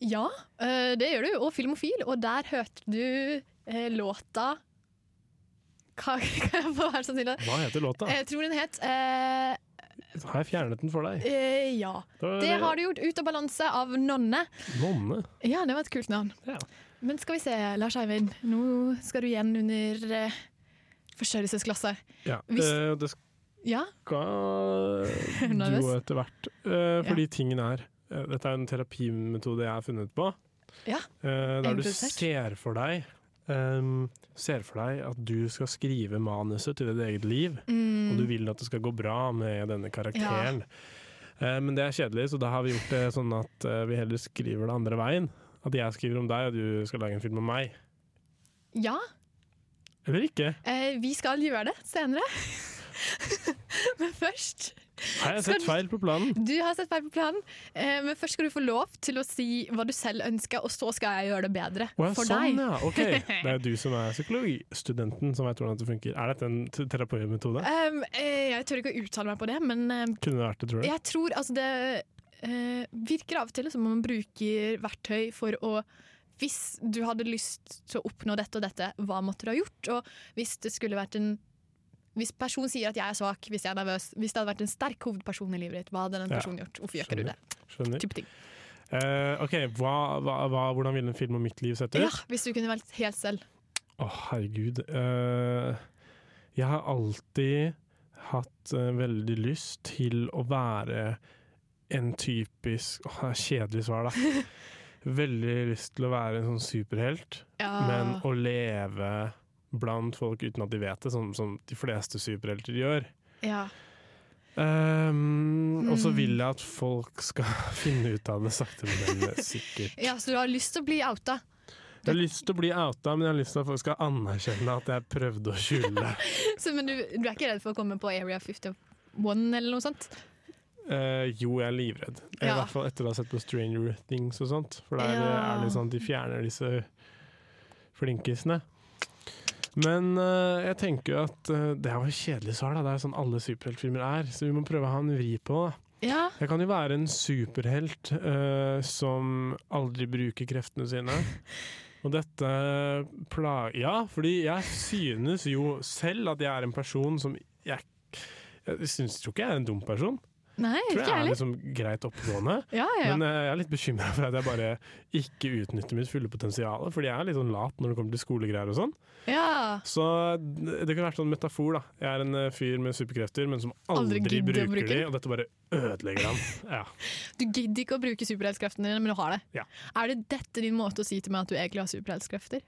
Ja, øh, det gjør du. Og Filmofil. Og der hørte du eh, låta Hva (laughs) kan jeg få være så snill å
Hva heter låta?
Jeg tror den het eh,
Har jeg fjernet den for deg?
eh, Ja. Det har du gjort. Ut av balanse av Nonne.
Nonne.
Ja, det var et kult navn.
Ja.
Men skal vi se, Lars Eivind. Nå skal du igjen under eh, forsørgelsesklasse.
Ja.
Hvis-
eh, det
Ja? (laughs)
skal du
Nervøs?
jo etter hvert. Eh, fordi tingen er eh, Dette er en terapimetode jeg har funnet på.
Ja,
Eh, der du
improvisert.
ser for deg ehm, Ser for deg at du skal skrive manuset til ditt eget liv, og
mm,
du vil at det skal gå bra med denne karakteren. Eh, men det er kjedelig, så da har vi gjort det sånn at eh, vi heller skriver det andre veien. At jeg skriver om deg, og du skal lage en film om meg.
ja
Eller ikke.
eh, vi skal gjøre det senere. (laughs) men først
Har jeg
Skal
sett
du-
feil på planen?
Du har sett meg på planen, eh, men først skal du få lov til å si hva du selv ønsker, og så skal jeg gjøre det bedre
Å ja,
for
sånn,
deg.
Ja. Ok,
(laughs)
Det er jo du som er psykologistudenten som vet hvordan dette funker. Er dette en t- terapimetode?
Um, eh, jeg tør ikke å uttale meg på det, men eh,
Kunne det vært det, tror du?
jeg tror altså det eh, virker av og til som om man bruker verktøy for å Hvis du hadde lyst til å oppnå dette og dette, hva måtte du ha gjort? Og hvis det skulle vært en hvis personen sier at jeg er svak, hvis jeg er nervøs, hvis det hadde vært en sterk hovedperson i livet ditt, hva hadde den
Ja.
personen gjort? Hvorfor gjør ikke du det?
Skjønner.
Type ting.
Eh, ok, hva, hva, hva, Hvordan ville en film om mitt liv sett ut? Å,
Ja, hvis du kunne valgt helt selv.
herregud. Eh, jeg har alltid hatt eh, veldig lyst til å være en typisk Åh, det er Kjedelig svar,
(laughs)
da. Veldig lyst til å være en sånn superhelt.
Ja.
Men å leve blant folk uten at de vet det, som, som de fleste superhelter gjør.
Ja.
Ehm, Og så
Mm.
vil jeg at folk skal (laughs) finne ut av det sakte, men
(laughs)
sikkert.
ja, så du har lyst til å bli outa? (laughs)
Jeg har lyst til å bli outa, men jeg har lyst til at folk skal anerkjenne at jeg prøvde å
(laughs)
skjule.
Så, men du, du er ikke redd for å komme på Area 51 eller noe sånt?
Eh, jo, jeg er livredd. I
Ja.
hvert fall etter å ha sett på Stranger Things og sånt. For der
Ja.
eh, er det sånn at de fjerner disse flinkisene. Men eh, jeg tenker jo at eh, det er jo kjedelig svar, da. Det er jo sånn alle superheltfilmer er. Så vi må prøve å ha en vri på det.
Ja.
Jeg kan jo være en superhelt eh, som aldri bruker kreftene
(laughs)
sine. Og dette pla... Ja, fordi jeg synes jo selv at jeg er en person som Jeg, jeg synes, tror ikke jeg er en dum person.
Nei,
tror jeg
ikke
er
heller.
liksom greit oppegående.
Ja, (laughs) ja, ja.
Men eh, jeg er litt bekymra for at jeg bare ikke utnytter mitt fulle potensial. Fordi jeg er litt sånn lat når det kommer til skolegreier og sånn.
Ja.
Så det kunne vært sånn metafor, da. Jeg er en eh, fyr med superkrefter, men som
Aldri
aldri,
gidder å
bruker
bruke
de,
dem.
og dette bare ødelegger
(laughs)
ham. Ja.
Du gidder ikke å bruke superheltskreftene dine, men du har det.
Ja.
Er det dette din måte å si til meg at du egentlig har superheltskrefter?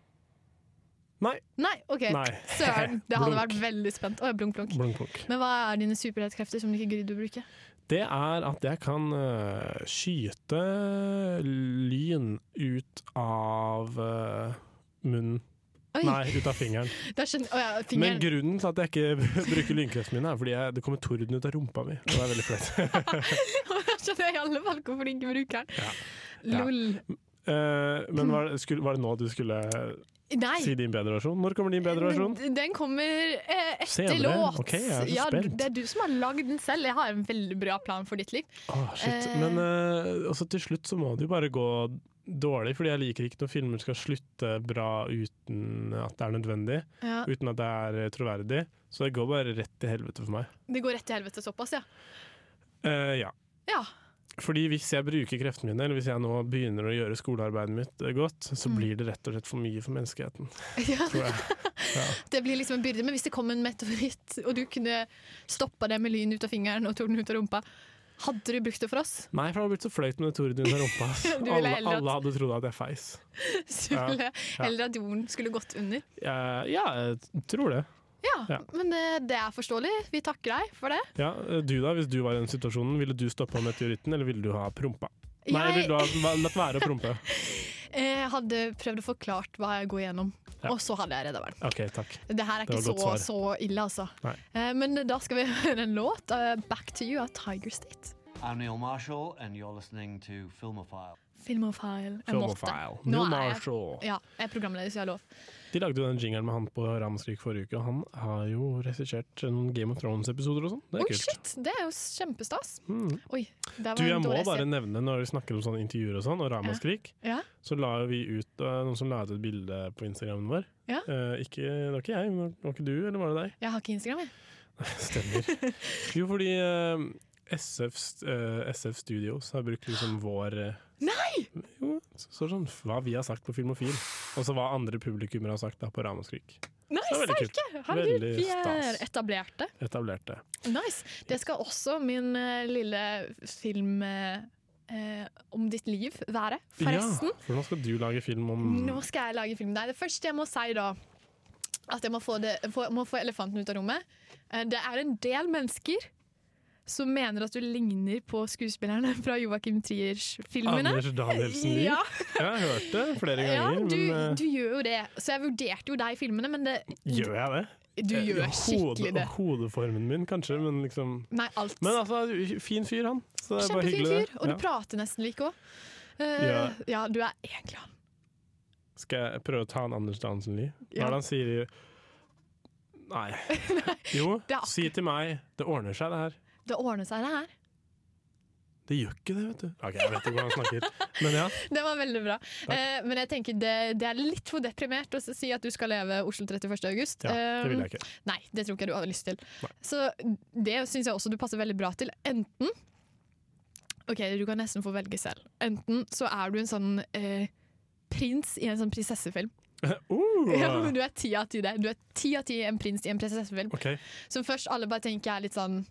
Nei.
Nei, ok.
Nei. (laughs)
Søren, det hadde
Blunk.
vært veldig spent. Å, blunk, blunk.
Blunk, blunk.
Men hva er dine superheltkrefter som du ikke gidder å bruke?
Det er at jeg kan eh, skyte lyn ut av eh, munnen.
Oi.
Nei, ut av fingeren.
Da skjønner, å, ja,
Men
(laughs) fingeren.
grunnen til at jeg ikke (laughs) bruker lynkreftene mine, er fordi jeg, det kommer torden ut av rumpa mi. Og det er veldig flaut.
(laughs)
(laughs)
Da skjønner jeg i alle fall hvorfor du ikke bruker den.
Ja.
Lol.
Eh, men var det, skulle, var det nå du skulle
Nei.
si din bedre versjon? Når kommer din bedre versjon?
Den, den kommer eh, etter
Senere?
låt.
Ok, jeg er så
ja,
spent.
det er du som har lagd den selv. Jeg har en veldig bra plan for ditt liv.
Åh, shit.
Eh.
Men eh, også til slutt så må det jo bare gå dårlig, fordi jeg liker ikke når filmer skal slutte bra uten at det er nødvendig.
Ja.
Uten at det er eh, troverdig. Så det går bare rett til helvete for meg.
Det går rett til helvete såpass, ja.
Eh, ja.
Ja. (laughs)
Fordi hvis jeg bruker kreftene mine, eller hvis jeg nå begynner å gjøre skolearbeidet mitt eh, godt, så
Mm.
blir det rett og slett for mye for menneskeheten.
ja.
Tror
(laughs)
jeg. Ja.
Det blir liksom en byrde. Men hvis det kom en meteoritt, og du kunne stoppa det med lyn ut av fingeren og torden ut av rumpa, hadde du brukt det for oss? (laughs)
Nei, for det hadde blitt så flaut med det torden under rumpa. ass.
Du ville
Alle,
heller at-
alle hadde trodd at jeg feis.
Skulle,
Ja.
Eller at jorden skulle gått under?
Eh, ja, jeg tror det.
Ja,
Ja.
men det, det er forståelig. Vi takker deg for det.
Ja, eh, du da, Hvis du var i den situasjonen, ville du stoppa meteoritten, eller ville du ha prompa? Nei,
Jeg-
ville du ha va- latt være å prompe?
Jeg Eh, hadde prøvd å forklart hva jeg går gjennom, og så hadde jeg redda verden.
OK, takk.
Det her er
Det var
ikke
et godt
så, så ille, altså.
Nei.
Eh, Men da skal vi (laughs) høre en låt. eh, 'Back to You' av Tiger State.
I'm Neil Marshall, and you're listening to Filmophile.
Filmofile. Jeg
Filmofile.
måtte. Nå
Neil
er
Marshall.
Jeg, ja, jeg er programleder, så jeg har lov.
De lagde jo den jingeren med han på Ramskrik forrige uke, og han har jo regissert noen Game of Thrones-episoder og sånn. Det
Oi,
er kult.
shit! Det er jo kjempestas.
Mm.
Oi, der var
Du, jeg
en
må
dårlig
bare
sted.
nevne, når vi snakker om sånne intervjuer og sånn, og Ramaskrik,
Ja.
så la jo vi ut eh, noen som la ut et bilde på Instagramen vår.
Ja.
Eh, ikke, det var ikke jeg, men det var ikke du, eller var det deg?
Jeg har ikke Instagram, jeg.
Stemmer. (laughs) jo, fordi eh, SF, st- eh, SF Studios har brukt liksom vår eh,
Nei!
Jo, så, så sånn hva vi har sagt på Filmofil, og så hva andre publikummere har sagt da på Ramaskrik.
Nei,
Så det er veldig
serke!
kult.
Herregud,
Veldig
vi er
stas.
etablerte.
Etablerte.
Nice. Det skal også min eh, lille film eh, eh, om ditt liv være, forresten.
Ja, Mm. for nå skal du lage film om
Nå skal jeg lage film. Nei, det første jeg må si da At jeg må få, det, få, må få elefanten ut av rommet. Eh, Det er en del mennesker som mener at du ligner på skuespillerne (laughs) fra Joakim Triers filmene.
Anders Danielsen-liv.
Ja.
Jeg har hørt det flere
Ja,
ganger,
du,
men
du gjør jo det. Så jeg vurderte jo deg i filmene, men det
eh, gjør jeg det?
Du
Eh,
gjør skikkelig det.
Hodeformen min, kanskje, men liksom
Nei, alt.
Men altså, fin fyr, han. Så det er bare
Kjempefin
hyggelig. det.
fyr, og du
Ja.
prater nesten like òg. ja.
Ja.
du er egentlig han.
Skal jeg prøve å ta en Anders Dansen-liv? Hva er
Ja.
det han sier i
(laughs)
Nei. Jo,
det er akkurat-
si til meg det ordner seg, det her.
Det ordner seg, det her. (laughs)
Det gjør ikke det, vet du. Ok, jeg vet ikke hvordan han snakker. Men ja.
Det var veldig bra.
Takk.
Eh, men jeg tenker det, det er litt for deprimert å s- si at du skal leve Oslo 31. august.
ja det vil
Eh,
jeg ikke.
Nei, det tror ikke jeg du har lyst til. Så det syns jeg også du passer veldig bra til. Enten Ok, du kan nesten få velge selv. Enten så er du en sånn eh, prins i en sånn prinsessefilm.
(laughs) Uh,
Ja, men (laughs) du er ti av ti der. Du er ti av ti en prins i en prinsessefilm.
Ok.
Som først alle bare tenker er litt sånn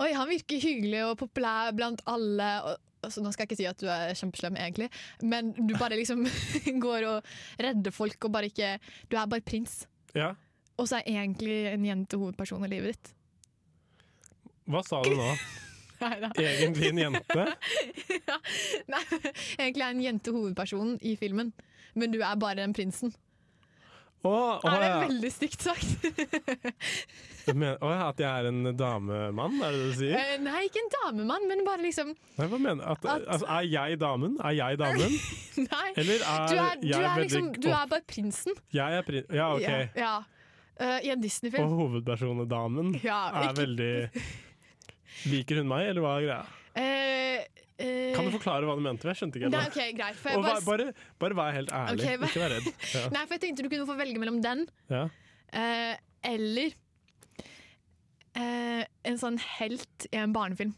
Oi, han virker hyggelig og populær blant alle, og, altså, Nå skal jeg ikke si at du er kjempeslem, egentlig, men du bare liksom (laughs) går og redder folk og bare ikke Du er bare prins.
Ja.
Og så er egentlig en jente hovedperson i livet ditt. (laughs)
Hva sa du nå?
Neida.
Egentlig en jente?
ja. Nei, (laughs) egentlig er en jente hovedpersonen i filmen, men du er bare den prinsen.
Å, å,
er det
ja.
veldig stygt
(laughs)
sagt?
Du mener- å ja, at jeg er en damemann, er det det du sier?
Eh, Nei, ikke en damemann, men bare liksom
Nei, hva mener at, altså, Er jeg damen? Er jeg damen?
Nei.
Eller er
du er, du
jeg
er,
veldig
liksom, du
opp-
er bare prinsen.
Jeg er prin... Ja, OK.
Ja, ja. Eh, I en Disney-film.
Og hovedpersonedamen
(laughs) Ja,
er veldig Liker hun meg, eller hva er greia?
Eh, eh,
Kan du forklare hva du mente? Jeg skjønte ikke
Nei,
helt.
ok, greit. For jeg
Og
bare,
vær- bare, bare vær helt ærlig.
Ok, hva-
Ikke
(laughs)
vær redd. Ja.
Nei, for jeg tenkte du kunne få velge mellom den
Ja.
eh, eller eh, en sånn helt i en barnefilm.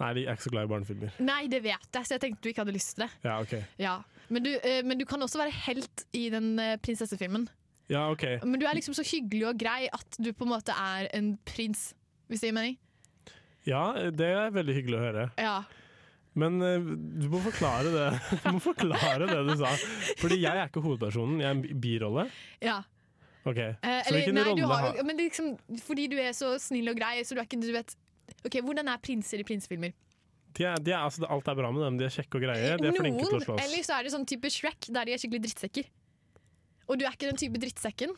Nei, jeg er ikke så glad i barnefilmer.
Nei, det vet jeg, så jeg tenkte du ikke hadde lyst til det.
Ja, OK.
Ja. Men, du, eh, men du kan også være helt i den eh, prinsessefilmen.
Ja, ok.
Men du er liksom så hyggelig og grei at du på en måte er en prins, hvis det gir mening.
ja det er veldig hyggelig å høre.
Ja.
Men eh, du må forklare det (laughs) Du må forklare det du sa. Fordi jeg er ikke hovedpersonen, jeg er en bi- birolle.
ja.
Ok,
Eh,
Så
eller,
hvilken
nei, du
rolle
har,
har
jo- men liksom, fordi du er så snill og grei, så du er ikke du vet Ok, Hvordan er prinser i prinsefilmer?
de er, de er, altså, Alt er bra med dem, de er kjekke og greie. De er
Noen,
flinke til å slåss.
eller så er det sånn type Shrek, der de er skikkelig drittsekker. Og du er ikke den type drittsekken.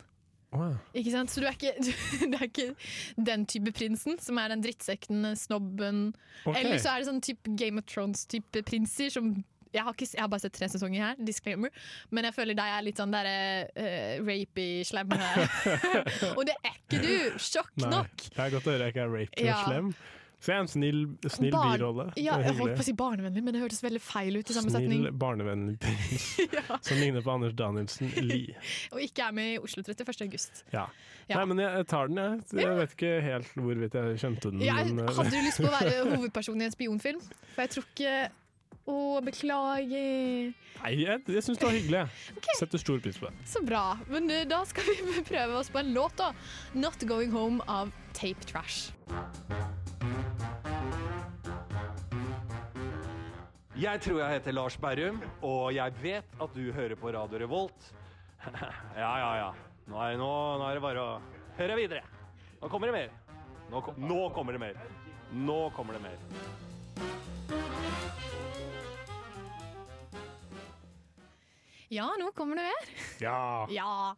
Åh,
Ikke sant? Så du er ikke, (laughs) du, du er ikke den type prinsen, som er den drittsekken, snobben.
Ok.
Eller så er det sånn type Game of Thrones-type prinser som jeg har, ikke, s- jeg har bare sett tre sesonger her, disclaimer. Men jeg føler deg er litt sånn der eh, rapey, slemme
(laughs)
(laughs) Og det er ikke du! Sjokk
Nei,
nok!
det er godt å høre jeg ikke er raped
Ja.
og slem. Så jeg er en snill, snill
Barn-
birolle. Det er
Ja, jeg holdt
hyggelig.
på å si barnevennlig, men det hørtes veldig feil ut i samme
Snill,
setning.
(laughs) barnevennlig prins som ligner på Anders Danielsen Lie.
Og ikke er med i Oslo 31. august.
Ja.
Ja.
Nei, men jeg jeg tar den, jeg. Jeg vet ikke helt hvorvidt jeg skjønte den.
Jeg
men, eh,
hadde jo lyst på å være
(laughs)
hovedperson i en spionfilm, for jeg tror ikke Å, beklager.
Nei, jeg, jeg syns det var hyggelig. jeg. Setter stor pris på det.
Så bra. Men eh, da skal vi (laughs) prøve oss på en låt, da. 'Not Going Home' av Tape Trash.
Jeg tror jeg heter Lars Berrum, og jeg vet at du hører på Radio Revolt. (laughs) ja, ja, ja. Nå er, nå, nå er det bare å høre videre. Nå kommer det mer. Nå, ko- nå kommer det mer. Nå kommer det mer.
Ja, nå kommer det mer.
Ja.
Ja.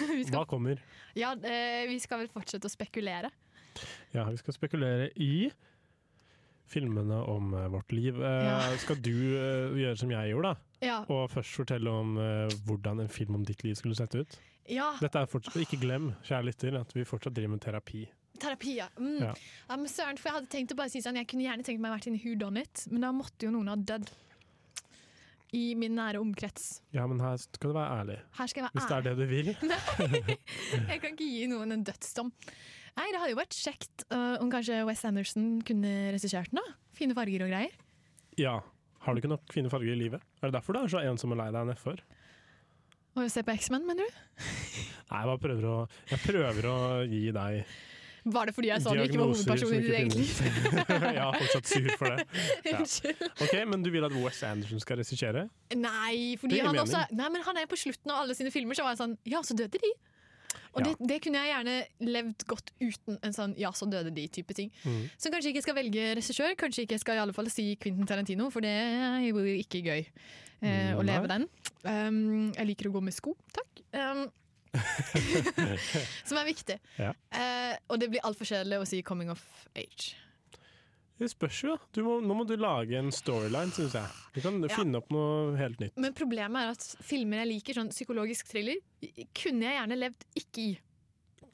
vi, skal,
Hva kommer?
ja eh, vi skal vel fortsette å spekulere.
Ja, vi skal spekulere i filmene om eh, vårt liv. Eh,
Ja.
Skal du eh, gjøre som jeg gjorde, da?
Ja.
Og først fortelle om eh, hvordan en film om ditt liv skulle sett ut?
Ja.
Dette er fortsatt, Ikke glem, kjære lytter, at vi fortsatt driver med terapi.
Terapi, ja. Mm.
Ja.
ja. men søren, for jeg hadde tenkt å bare si sånn Jeg kunne gjerne tenkt meg å vært i en Who Done It, men da måtte jo noen ha dødd. I min nære omkrets.
Ja, men her skal du være ærlig.
Her skal jeg være
Hvis det er det du vil.
Jeg kan ikke gi noen en dødsdom. Nei, det hadde jo vært kjekt øh, om kanskje Wes Anderson kunne regissert den. da. Fine farger og greier.
Ja. Har du ikke nok fine farger i livet? Er det derfor du er så ensom og lei deg nedfor?
Og se på X-Men, mener du?
Nei, jeg bare prøver å, jeg prøver å gi deg
Var det fordi jeg sa du ikke var
Diagnoser som
hovedperson i ditt eget (laughs) liv?
ikke finnes. (laughs) jeg er fortsatt sur for det. Ja.
Unnskyld.
Ok, Men du vil at Wes Anderson skal regissere?
Nei,
Det
fordi
gir
han
mening.
også er, nei, men han er på slutten av alle sine filmer, så var han sånn Ja, så døde de. Og
Ja.
det, det kunne jeg gjerne levd godt uten en sånn ja, så døde de-type ting.
Mhm.
Så kanskje ikke skal velge regissør, kanskje ikke skal i alle fall si Quentin Tarantino, for det er jo ikke gøy
Mm,
eh, å
Nei.
leve den. Um, jeg liker å gå med sko, takk. Um, (laughs) som er viktig.
(laughs) Ja.
Eh, og det blir altfor kjedelig å si 'coming of age'.
Det spørs jo. da. Du må, nå må du lage en storyline, syns jeg. Du kan
Ja.
finne opp noe helt nytt.
Men problemet er at filmer jeg liker, sånn psykologisk thriller, i- kunne jeg gjerne levd ikke i.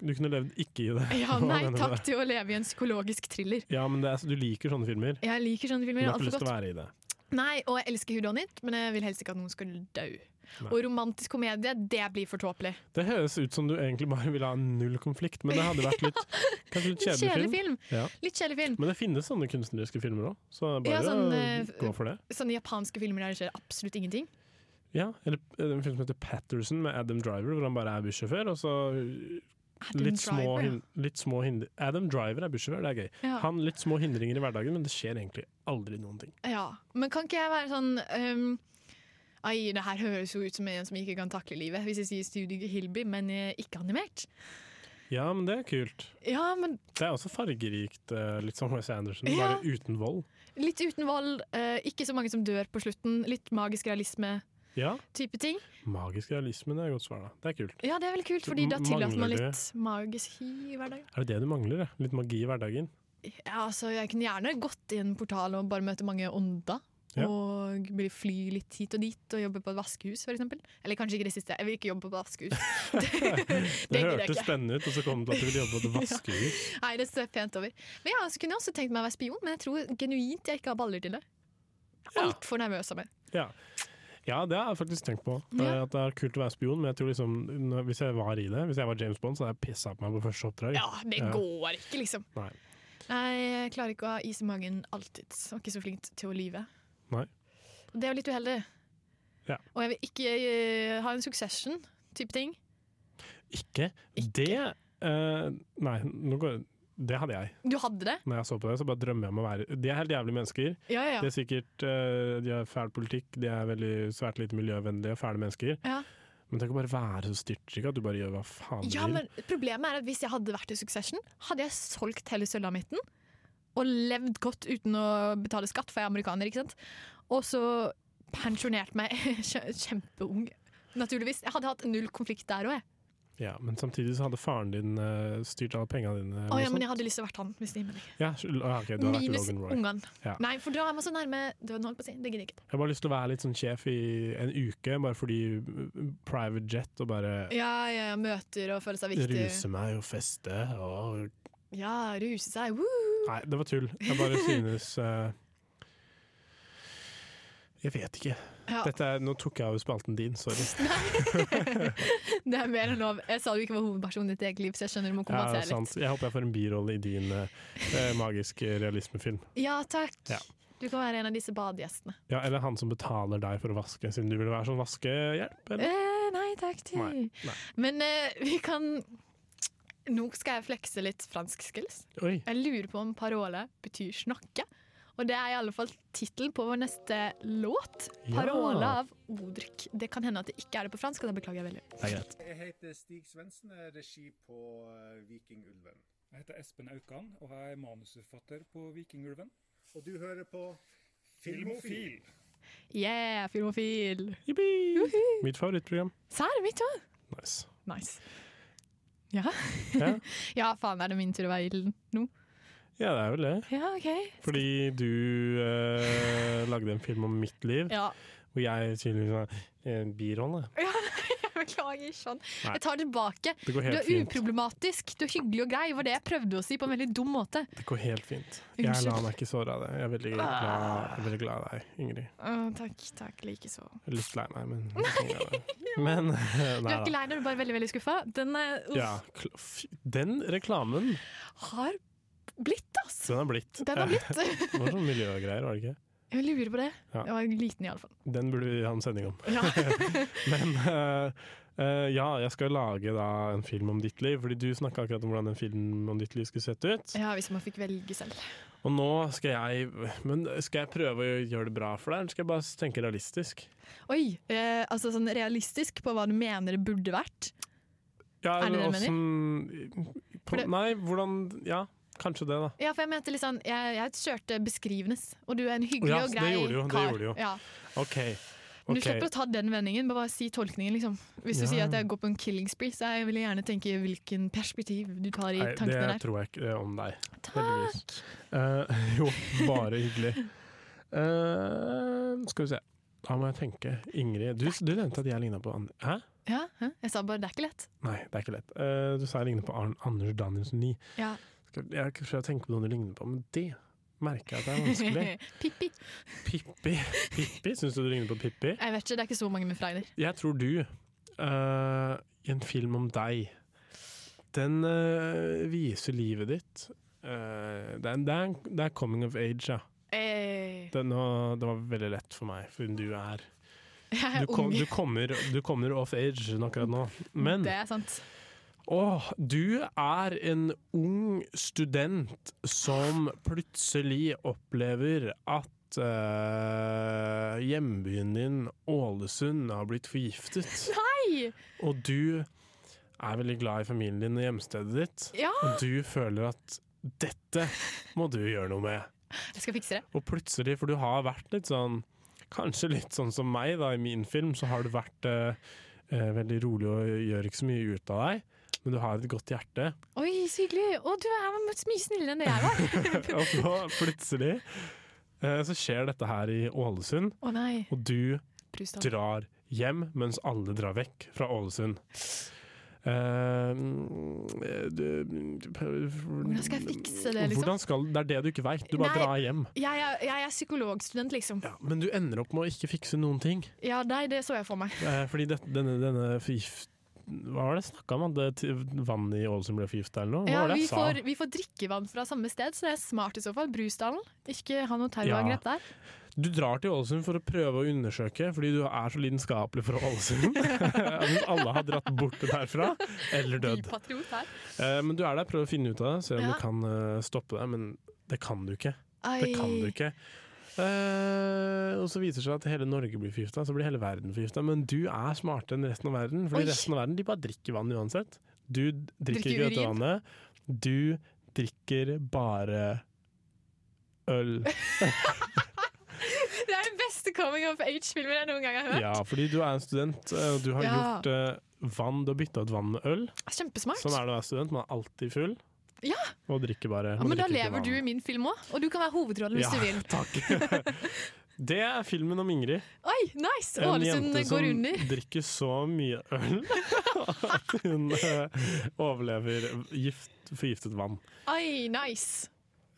Du kunne levd ikke i det.
Ja,
(laughs) Hva
nei
mener du
takk
med det?
til å leve i en psykologisk thriller.
Ja, men det er, du liker sånne filmer.
Jeg liker sånne
Du
filmer
har ikke
altfor
lyst til å
godt.
være i det.
Nei, og jeg elsker Who Done It, men jeg vil helst ikke at noen skal dø.
Nei.
Og romantisk komedie, det blir for tåpelig.
Det høres ut som du egentlig bare vil ha null konflikt, men det hadde vært
(laughs)
litt, kanskje litt kjedelig,
Kjedelig
film.
film.
Ja.
Litt kjedelig film.
Men det finnes sånne kunstneriske filmer òg, så det er
Ja,
bare
sånn,
å
eh,
gå for det.
Sånne japanske filmer der det skjer absolutt ingenting.
Ja, eller eh, en film som heter Patterson med Adam Driver, hvor han bare er bussjåfør, og så
Adam
litt små,
Ah, Driver, ja.
hin- litt små hinder Adam Driver er bussjåfør, det er gøy.
Ja.
Han litt små hindringer i hverdagen, men det skjer egentlig aldri noen ting.
Ja, men kan ikke jeg være sånn ehm, Ai, det her høres jo ut som en som ikke kan takle livet, hvis jeg sier Studio Hilby, men eh, ikke animert.
Ja, men det er kult.
Ja, men
Det er også fargerikt, eh, litt som Wes Anderson,
Ja.
bare uten vold.
litt uten vold, eh, ikke så mange som dør på slutten, litt magisk realisme-type
Ja,
ting.
Magisk realisme, det er godt svar, da. Det er kult.
Ja, det er veldig kult, fordi da
M-
tillater man
mangler det-
litt magisk hi i hverdagen.
Er det det du mangler? ja? Litt magi i hverdagen?
Ja, altså, jeg kunne gjerne gått i en portal og bare møte mange ånder.
Ja.
Og bli- fly litt hit og dit og jobbe på et vaskehus, f.eks. Eller kanskje ikke det siste. Jeg vil ikke jobbe på et vaskehus.
(laughs) Det,
Det gidder jeg
hørtes
ikke.
spennende ut, og så kom det til at du ville jobbe på et
(laughs) Ja.
vaskehus.
Nei, det står pent over. Men ja, så kunne jeg også tenkt meg å være spion, men jeg tror genuint jeg ikke har baller til det. Altfor nervøs av meg.
Ja. ja, det har jeg faktisk tenkt på.
Ja.
Eh, At det er kult å være spion, men jeg tror liksom når- Hvis jeg var i det, hvis jeg var James Bond, så hadde jeg pissa på meg på første oppdrag.
Ja, det går ikke, liksom.
Nei.
Nei, jeg klarer ikke å ha is i magen alltid. Og ikke så flink til å lyve.
Nei.
Og Det er jo litt uheldig.
Ja.
Og jeg vil ikke eh, ha en succession-type ting.
Ikke, det eh, Nei, nå går det hadde jeg.
Du hadde det?
Når jeg så på det, så bare drømmer jeg om å være De er helt jævlige mennesker.
Ja, ja, ja.
De er sikkert eh, De har fæl politikk, de er veldig svært lite miljøvennlige, fæle mennesker.
Ja.
Men tenk å bare være så styrtrykk at du bare gjør hva faen du
Ja,
vil.
men Problemet er at hvis jeg hadde vært i Succession, hadde jeg solgt hele sølvamitten og levd godt uten å betale skatt, for jeg er amerikaner, ikke sant. Og så pensjonert meg (laughs) kje- kjempeung, naturligvis. Jeg hadde hatt null konflikt der òg, jeg.
Ja, men samtidig så hadde faren din eh, styrt alle pengene dine.
Å, ja, men jeg hadde lyst til å vært han. Hvis det gir mening.
ja, skyld- ah, ok, du har vært
Minus
Logan Roy.
ungene.
Ja.
Nei, for da er man så nærme døden, holdt på å si. Det gidder jeg ikke.
Jeg har bare lyst til å være litt sånn sjef i en uke, bare fordi mm, private jet og bare
Ja, ja, ja, møter og føle seg viktig.
ruse meg og feste og
Ja, ruse seg. Woo!
Nei, det var tull. Jeg
(laughs)
bare synes eh, Jeg vet ikke.
Ja.
Dette er, nå tok jeg over spalten din, sorry.
(laughs) Det er mer enn lov. Jeg sa du ikke var hovedpersonen i ditt eget liv, så jeg skjønner du må
Ja,
kompensere litt.
sant. Jeg håper jeg får en birolle i din eh, eh, magiske realismefilm.
Ja, takk.
Ja.
Du kan være en av disse badegjestene.
Ja, eller han som betaler deg for å vaske, siden du ville være sånn vaskehjelp. Eller?
Eh, nei takk. Til.
Nei, nei.
Men eh, vi kan Nå skal jeg flekse litt fransk skills.
Oi.
Jeg lurer på om parole betyr snakke. Og det er i alle fall tittelen på vår neste låt.
Ja.
'Parole' av Odrik. Det kan hende at det ikke er det på fransk, og det beklager jeg veldig.
Det er greit.
Jeg heter Stig Svendsen, jeg er regi på eh, Vikingulven.
Jeg heter Espen Aukan, og jeg er manusforfatter på Vikingulven.
Og du hører på
Filmofil.
Yeah, filmofil!
Juhu.
Juhu.
Mitt favorittprogram.
Sær mitt òg.
Nice.
Nice. Ja. (laughs) ja.
Ja.
faen, er det min tur å være ilden nå?
Ja, det er vel det.
Ja, OK.
Fordi du eh, lagde en film om mitt liv,
Ja.
og jeg tydeligvis har en birolle.
Ja, jeg beklager sånn.
Nei.
Jeg tar det tilbake.
Det går helt
du er
fint.
uproblematisk, du er hyggelig og grei, var det jeg prøvde å si på en veldig dum måte.
Det går helt fint. Jeg lar
Unnskyld. Ah.
meg ikke såre av det. Jeg er veldig glad, jeg er veldig glad i deg, Ingrid.
Å, takk, takk, likeså.
Jeg er litt lei meg,
(laughs)
men sånn er det. Men (laughs) nei
Du er ikke
da.
lei deg, du er bare veldig veldig skuffa. Den eh, er, uff,
Ja, kl- fy- den reklamen,
har blitt, ass!
den har blitt.
Den har blitt.
det var sånn miljøgreier, var det ikke?
(laughs) Jeg lurer på det.
Ja.
Jeg var liten iallfall.
Den burde vi ha en sending om. (laughs) Men eh, eh, ja, jeg skal lage da en film om ditt liv, fordi du snakka akkurat om hvordan en film om ditt liv skulle sett ut.
Ja, hvis man fikk velge selv.
Og nå skal jeg Men skal jeg prøve å gjøre det bra for deg, eller skal jeg bare tenke realistisk?
Oi! Eh, altså sånn realistisk på hva du mener det burde vært.
Ja,
Er det det du
mener? På, nei, hvordan Ja, kanskje det, da.
Ja, for jeg mente litt sånn Jeg, jeg kjørte beskrivenes, og du er en hyggelig
Ja,
og
det
grei
gjorde jo, det
kar.
gjorde jo.
Ja.
OK.
Men
ok.
Du slipper å ta den vendingen, bare si tolkningen. liksom. Hvis du
Ja.
sier at jeg går på en killing spree, så jeg vil gjerne tenke hvilken perspektiv du tar i
Nei, det
tankene der.
tror jeg ikke om deg. Takk! (laughs) jo, bare hyggelig. Eh, skal vi se. Da må jeg tenke. Ingrid, du, du nevnte at jeg ligna på An Hæ?
Ja, hæ? Jeg sa bare det er ikke lett.
Nei, det er ikke lett. Eh, du sa jeg ligner på Arn Anders Danielsen Lie.
Ja.
Skal- Jeg har ikke prøvd å tenke på noen du ligner på, men det merker jeg at det er
(laughs)
vanskelig.
Pippi.
Pippi? Pippi? Syns du du ligner på Pippi?
Jeg vet ikke, det er ikke så mange med fregner.
Jeg tror du, eh, i en film om deg, den eh, viser livet ditt. Eh, det, er, det, er, det er coming of age, ja.
Eh,
Den, og, det var veldig lett for meg, for du er
jeg er
du, kom,
ung.
du, kommer, du kommer off age akkurat nå. Men
det er sant.
Åh, du er en ung student som plutselig opplever at eh, hjembyen din, Ålesund, har blitt forgiftet.
Nei!
Og du er veldig glad i familien din og hjemstedet ditt.
Ja.
Og du føler at dette må du gjøre noe med.
Jeg skal fikse det.
Og plutselig, for du har vært litt sånn Kanskje litt sånn som meg, da, i min film, så har du vært eh, eh, veldig rolig og gjør ikke så mye ut av deg. Men du har et godt hjerte.
Oi, så hyggelig. Å, du er mye snillere enn det jeg var.
og
(laughs)
så plutselig eh, så skjer dette her i Ålesund.
Å nei.
Og du
Brustad.
drar hjem, mens alle drar vekk fra Ålesund. Eh, du- Hvordan
skal jeg fikse det, liksom?
Hvordan skal, det er det du ikke veit. Du bare
Nei,
drar hjem.
Jeg er, jeg er psykologstudent, liksom. Ja.
Men du ender opp med å ikke fikse noen ting.
nei, det så jeg for meg.
Eh, Fordi det, denne, denne forgift... Hva var det jeg snakka om? At det- vann i Ålesund ble forgifta eller noe? Hva
Ja,
var det
vi,
jeg sa?
får, vi får drikkevann fra samme sted, så det er smart i så fall. Brusdalen. Ikke ha noe terrorangrep
Ja.
der.
Du drar til Ålesund for å prøve å undersøke, fordi du er så lidenskapelig for
(laughs)
Ålesund. Mens alle har dratt bort derfra, eller dødd.
Patriot her.
Eh, Men du er der, prøver å finne ut av det, se om
Ja.
du kan eh, stoppe det. Men det kan du ikke. Det
Ai.
kan du ikke. Eh, og så viser det seg at hele Norge blir forgifta, så blir hele verden forgifta. Men du er smartere enn resten av verden, Fordi
Oi.
resten av verden de bare drikker vann uansett. Du d- drikker
Drikker
ikke dette
urin.
vannet. Du drikker bare øl.
Det er den beste coming of age-filmen jeg noen gang (laughs) har hørt.
Ja, fordi du er en student, eh, og du har
Ja.
gjort eh, vann Du har bytta ut vann med øl.
Kjempesmart.
Sånn er det å være student. Man er alltid full
Ja.
og drikker bare.
Ja,
man
men da
drikker ikke
lever
vann.
du i min film òg, og du kan være hovedrollen
Ja,
hvis du
(laughs)
vil.
Det er filmen om Ingrid.
Oi, nice!
En
Ålesund
jente som
går under. (laughs)
drikker så mye øl (laughs) at hun eh, overlever gift, forgiftet vann.
Oi, nice!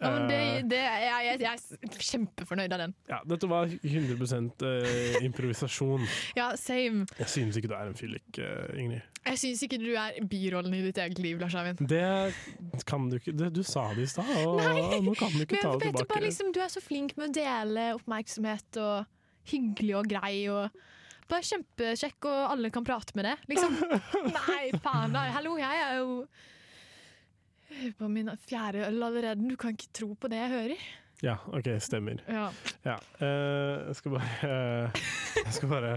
Ja, men det,
Eh.
det, jeg, jeg, jeg er kjempefornøyd av den.
Ja, dette var 100 eh, improvisasjon.
Ja, same.
Jeg synes ikke du er en fyllik, eh, Ingrid.
Jeg syns ikke du er birollen i ditt eget liv, Lars Eivind.
Det kan du ikke. Det, du sa det i stad, og nå kan du ikke
Men
ta det
Peter,
tilbake.
bare liksom, du er så flink med å dele oppmerksomhet og hyggelig og grei og bare kjempekjekk, og alle kan prate med deg,
(laughs)
liksom. Nei, faen da. Hallo, jeg er jo på min fjerde øl allerede. Du kan ikke tro på det jeg hører.
Ja, OK, stemmer.
Ja.
Ja, eh, jeg skal bare eh, Jeg skal bare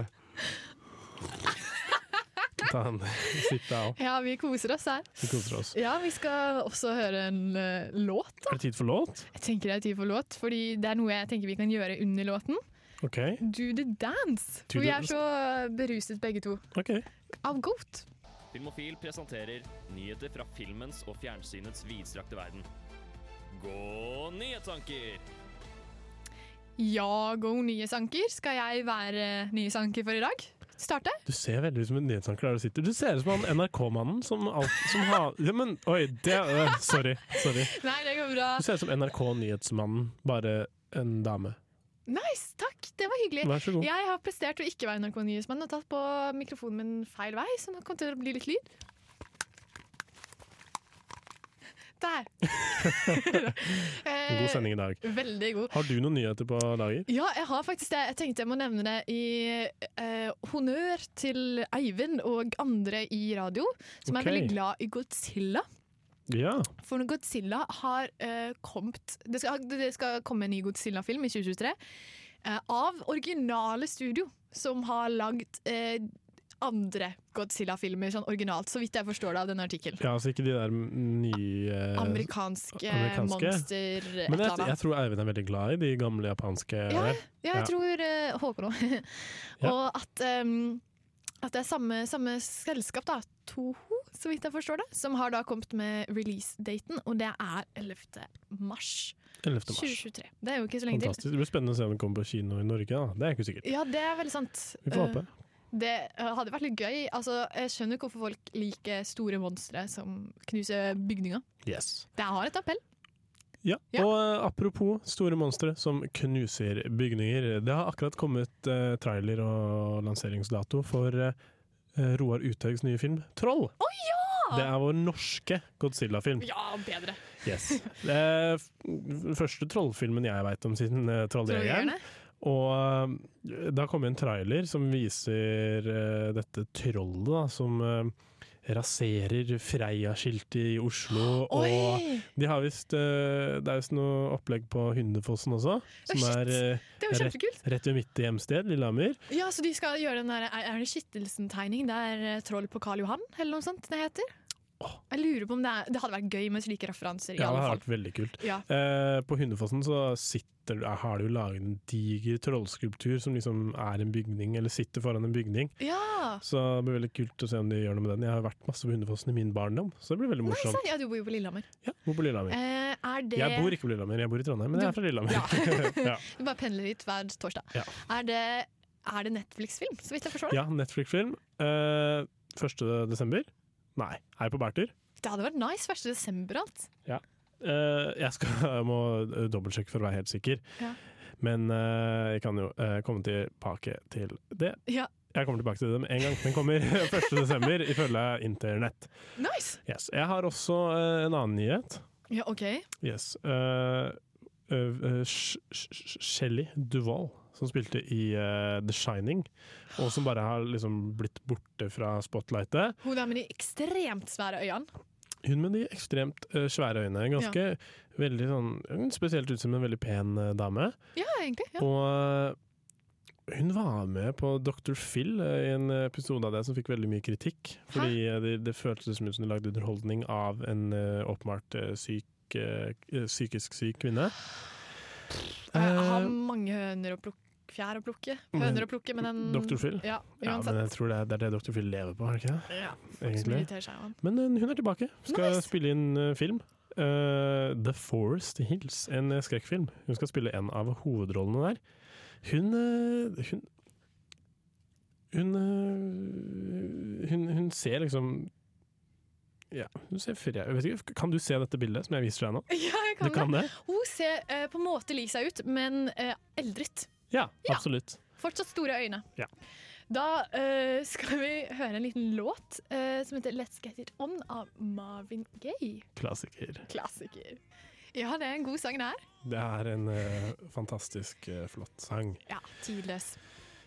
ta en sippe av.
ja, vi koser oss her.
Vi koser oss.
Ja, vi skal også høre en eh, låt.
Er det tid for låt?
Jeg tenker det er tid for låt, fordi det er noe jeg tenker vi kan gjøre under låten.
OK.
Do the dance!
Do
For vi
the-
er så beruset begge to.
Ok.
Av Goat.
Filmofil presenterer nyheter fra filmens og fjernsynets vidstrakte verden. Gå nyhetsanker!
Ja, go nye sanker. Skal jeg være nye sanker for i dag? Starte?
Du ser veldig ut som en nyhetsanker der du sitter. Du ser ut som han NRK-mannen som, alt- som har ja, men, Oi, det eh, Sorry. sorry.
Nei, det går bra.
Du ser ut som NRK-nyhetsmannen, bare en dame.
Nice, takk. Det var hyggelig.
Vær så god.
Jeg har prestert å ikke være narkonismann og tatt på mikrofonen min feil vei, så nå kommer det til å bli litt lyd. Der. eh,
En (laughs) god sending i dag.
Veldig god.
Har du noen nyheter på lager?
Ja, jeg har faktisk det. Jeg tenkte jeg må nevne det i eh, honnør til Eivind og andre i radio, som
Ok.
er veldig glad i Godzilla.
Ja.
For når Godzilla har eh, kommet det skal, det skal komme en ny Godzilla-film i 2023. eh, av originale studio som har lagd eh, andre Godzilla-filmer sånn originalt, så vidt jeg forstår det av denne artikkelen.
ja altså ikke de der nye
Amerikanske,
Eh, Amerikanske?
monster et
Men
eller
jeg,
annet.
jeg tror Eivind er veldig glad i de gamle japanske
Ja,
der.
ja, jeg tror eh, Håper nå. (laughs)
Ja.
Og at, em, at det er samme, samme selskap, da, Toho, så vidt jeg forstår det, som har da kommet med release-daten, og det er 11. mars.
11. mars.
2023. Det er jo ikke så lenge
Fantastisk. Det blir spennende å se om den kommer på kino i Norge. Da. Det er ikke sikkert.
til. Ja, det er veldig sant.
Vi får håpe.
Eh, Det eh, hadde vært litt gøy. Altså, jeg skjønner ikke hvorfor folk liker store monstre som knuser bygninger.
Yes.
Det har et appell.
Ja, og eh, apropos store monstre som knuser bygninger. Det har akkurat kommet eh, trailer og lanseringsdato for eh, Roar Uthaugs nye film 'Troll'.
Å ja!
Det er vår norske Godzilla-film.
Ja, bedre.
Yes. Det er f- den første trollfilmen jeg veit om siden uh, Trolljegeren.
Trolljegerne?
Og eh, da kom en trailer som viser eh, dette trollet da, som eh, raserer Freia-skiltet i Oslo.
Oi!
Og de har visst eh, Det er visst noe opplegg på Hundefossen også,
Ja,
som
shit.
er eh,
Det er jo
rett,
kjempekult.
rett ved mitt hjemsted, Lillehammer.
Ja, så de skal gjøre den der Er er det Skittelsen-tegning? Det er eh, troll på Karl Johan, eller noe sånt det heter? Jeg lurer på om det er Det hadde vært gøy med slike referanser,
Ja,
i
det
alle
har
fall.
vært veldig kult.
Ja.
Eh, på Hundefossen så sitter, du- har de jo laget en diger trollskulptur som liksom er en bygning, eller sitter foran en bygning.
Ja!
Så det blir veldig kult å se om de gjør noe med den. Jeg har vært masse på Hundefossen i min barndom, så det blir veldig
Nei,
morsomt.
sant? Ja, du bor jo på Lillehammer.
Bor på Lillehammer.
Eh, er det
Jeg bor ikke på Lillehammer, jeg bor i Trondheim, men jeg er fra Lillehammer. (laughs) Ja.
Du bare pendler hit hver torsdag.
Ja.
Er det, er det Netflix-film, så vidt jeg forstår? det?
Ja, Netflix-film. Eh, 1. desember. Nei, er jeg på bærtur?
Det hadde vært nice. 1. desember og alt.
Ja. Eh, jeg, skal, jeg må eh, dobbeltsjekke for å være helt sikker.
Ja.
Men eh, jeg kan jo eh, komme tilbake til det.
Ja.
Jeg kommer tilbake til det med en gang. Den kommer (laughs) 1. desember, ifølge internett.
Nice!
Yes. Jeg har også eh, en annen nyhet.
Ja, OK.
Yes. Eh, eh, eh, Sh- Sh- Sh- Shelley Duvall, som spilte i eh, The Shining, og som bare har liksom blitt borte fra spotlightet.
Hun der med de ekstremt svære øynene.
Hun med de ekstremt eh, svære øynene. Ganske veldig sånn hun Spesielt ut som en veldig pen eh, dame.
Ja, egentlig. Ja.
Og eh, hun var med på Dr. Phil eh, i en episode av det som fikk veldig mye kritikk. Fordi eh, det, det føltes som ut som de lagde underholdning av en eh, åpenbart eh, syk, eh, psykisk syk kvinne.
Jeg har
Eh,
mange høner og plukk, fjær å plukke.
men-
Høner å plukke, men den
Dr. Phil?
Ja,
Ja, men
uansett.
jeg tror det er, det er det Dr. Phil lever på, er det ikke det?
Ja, folk som irriterer seg av han.
Men eh, hun er tilbake. Skal spille inn eh, film. Eh, The Forest Hills, en eh, skrekkfilm. Hun skal spille en av hovedrollene der. Hun eh, Hun hun, eh, hun, hun ser liksom Ja, hun ser fri jeg vet ikke, Kan du se dette bildet som jeg viser deg nå?
(laughs) Ja, jeg kan,
Du kan det?
Hun ser eh, på en måte lik seg ut, men eh, eldret.
Ja,
Ja.
absolutt.
Fortsatt store øyne.
Ja.
Da eh, skal vi høre en liten låt eh, som heter Let's Get It On av Marvin Gaye.
Klassiker.
Klassiker. Ja, det er en god sang, det her.
Det er en eh, fantastisk eh, flott sang.
Ja, (laughs) tidløs.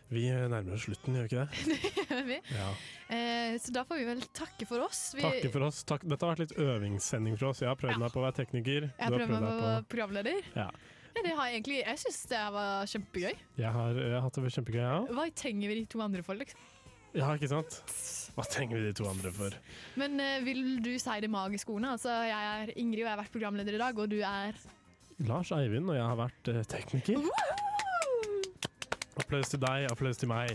Vi eh, nærmer oss slutten, gjør vi ikke det?
Det gjør vi.
Ja.
Eh, så da får vi vel takke for oss. Vi,
Takke for oss. Takk. Dette har vært litt øvingssending for oss. Jeg har prøvd meg på å være tekniker.
Jeg
du har
prøver meg på å være
deg
programleder.
Ja.
Ja, det har jeg egentlig, jeg syns det her var kjempegøy.
Jeg har, jeg har hatt det kjempegøy, jeg òg.
Hva trenger vi de to andre for, liksom?
Ja, ikke sant? Hva trenger vi de to andre for?
Men eh, vil du si det magiske ordene? Altså, jeg er Ingrid, og jeg har vært programleder i dag, og du er
Lars Eivind og jeg har vært eh, tekniker. Applaus til deg, applaus til meg.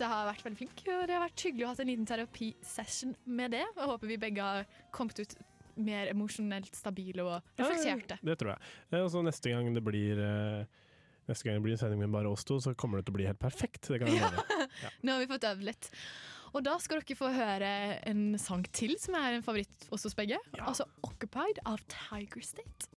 Det har vært veldig flink, og det har vært hyggelig å ha hatt en liten terapisession med det. Og jeg håper vi begge har kommet ut mer emosjonelt stabile og reflekterte.
Det tror jeg. Eh, Og så neste gang det blir eh, Neste gang det blir en sending med bare oss to, så kommer det til å bli helt perfekt. Det kan jeg love.
(laughs) Nå har vi fått øvd litt. Og da skal dere få høre en sang til som er en favoritt hos oss begge. Altså 'Occupied' av Tiger State.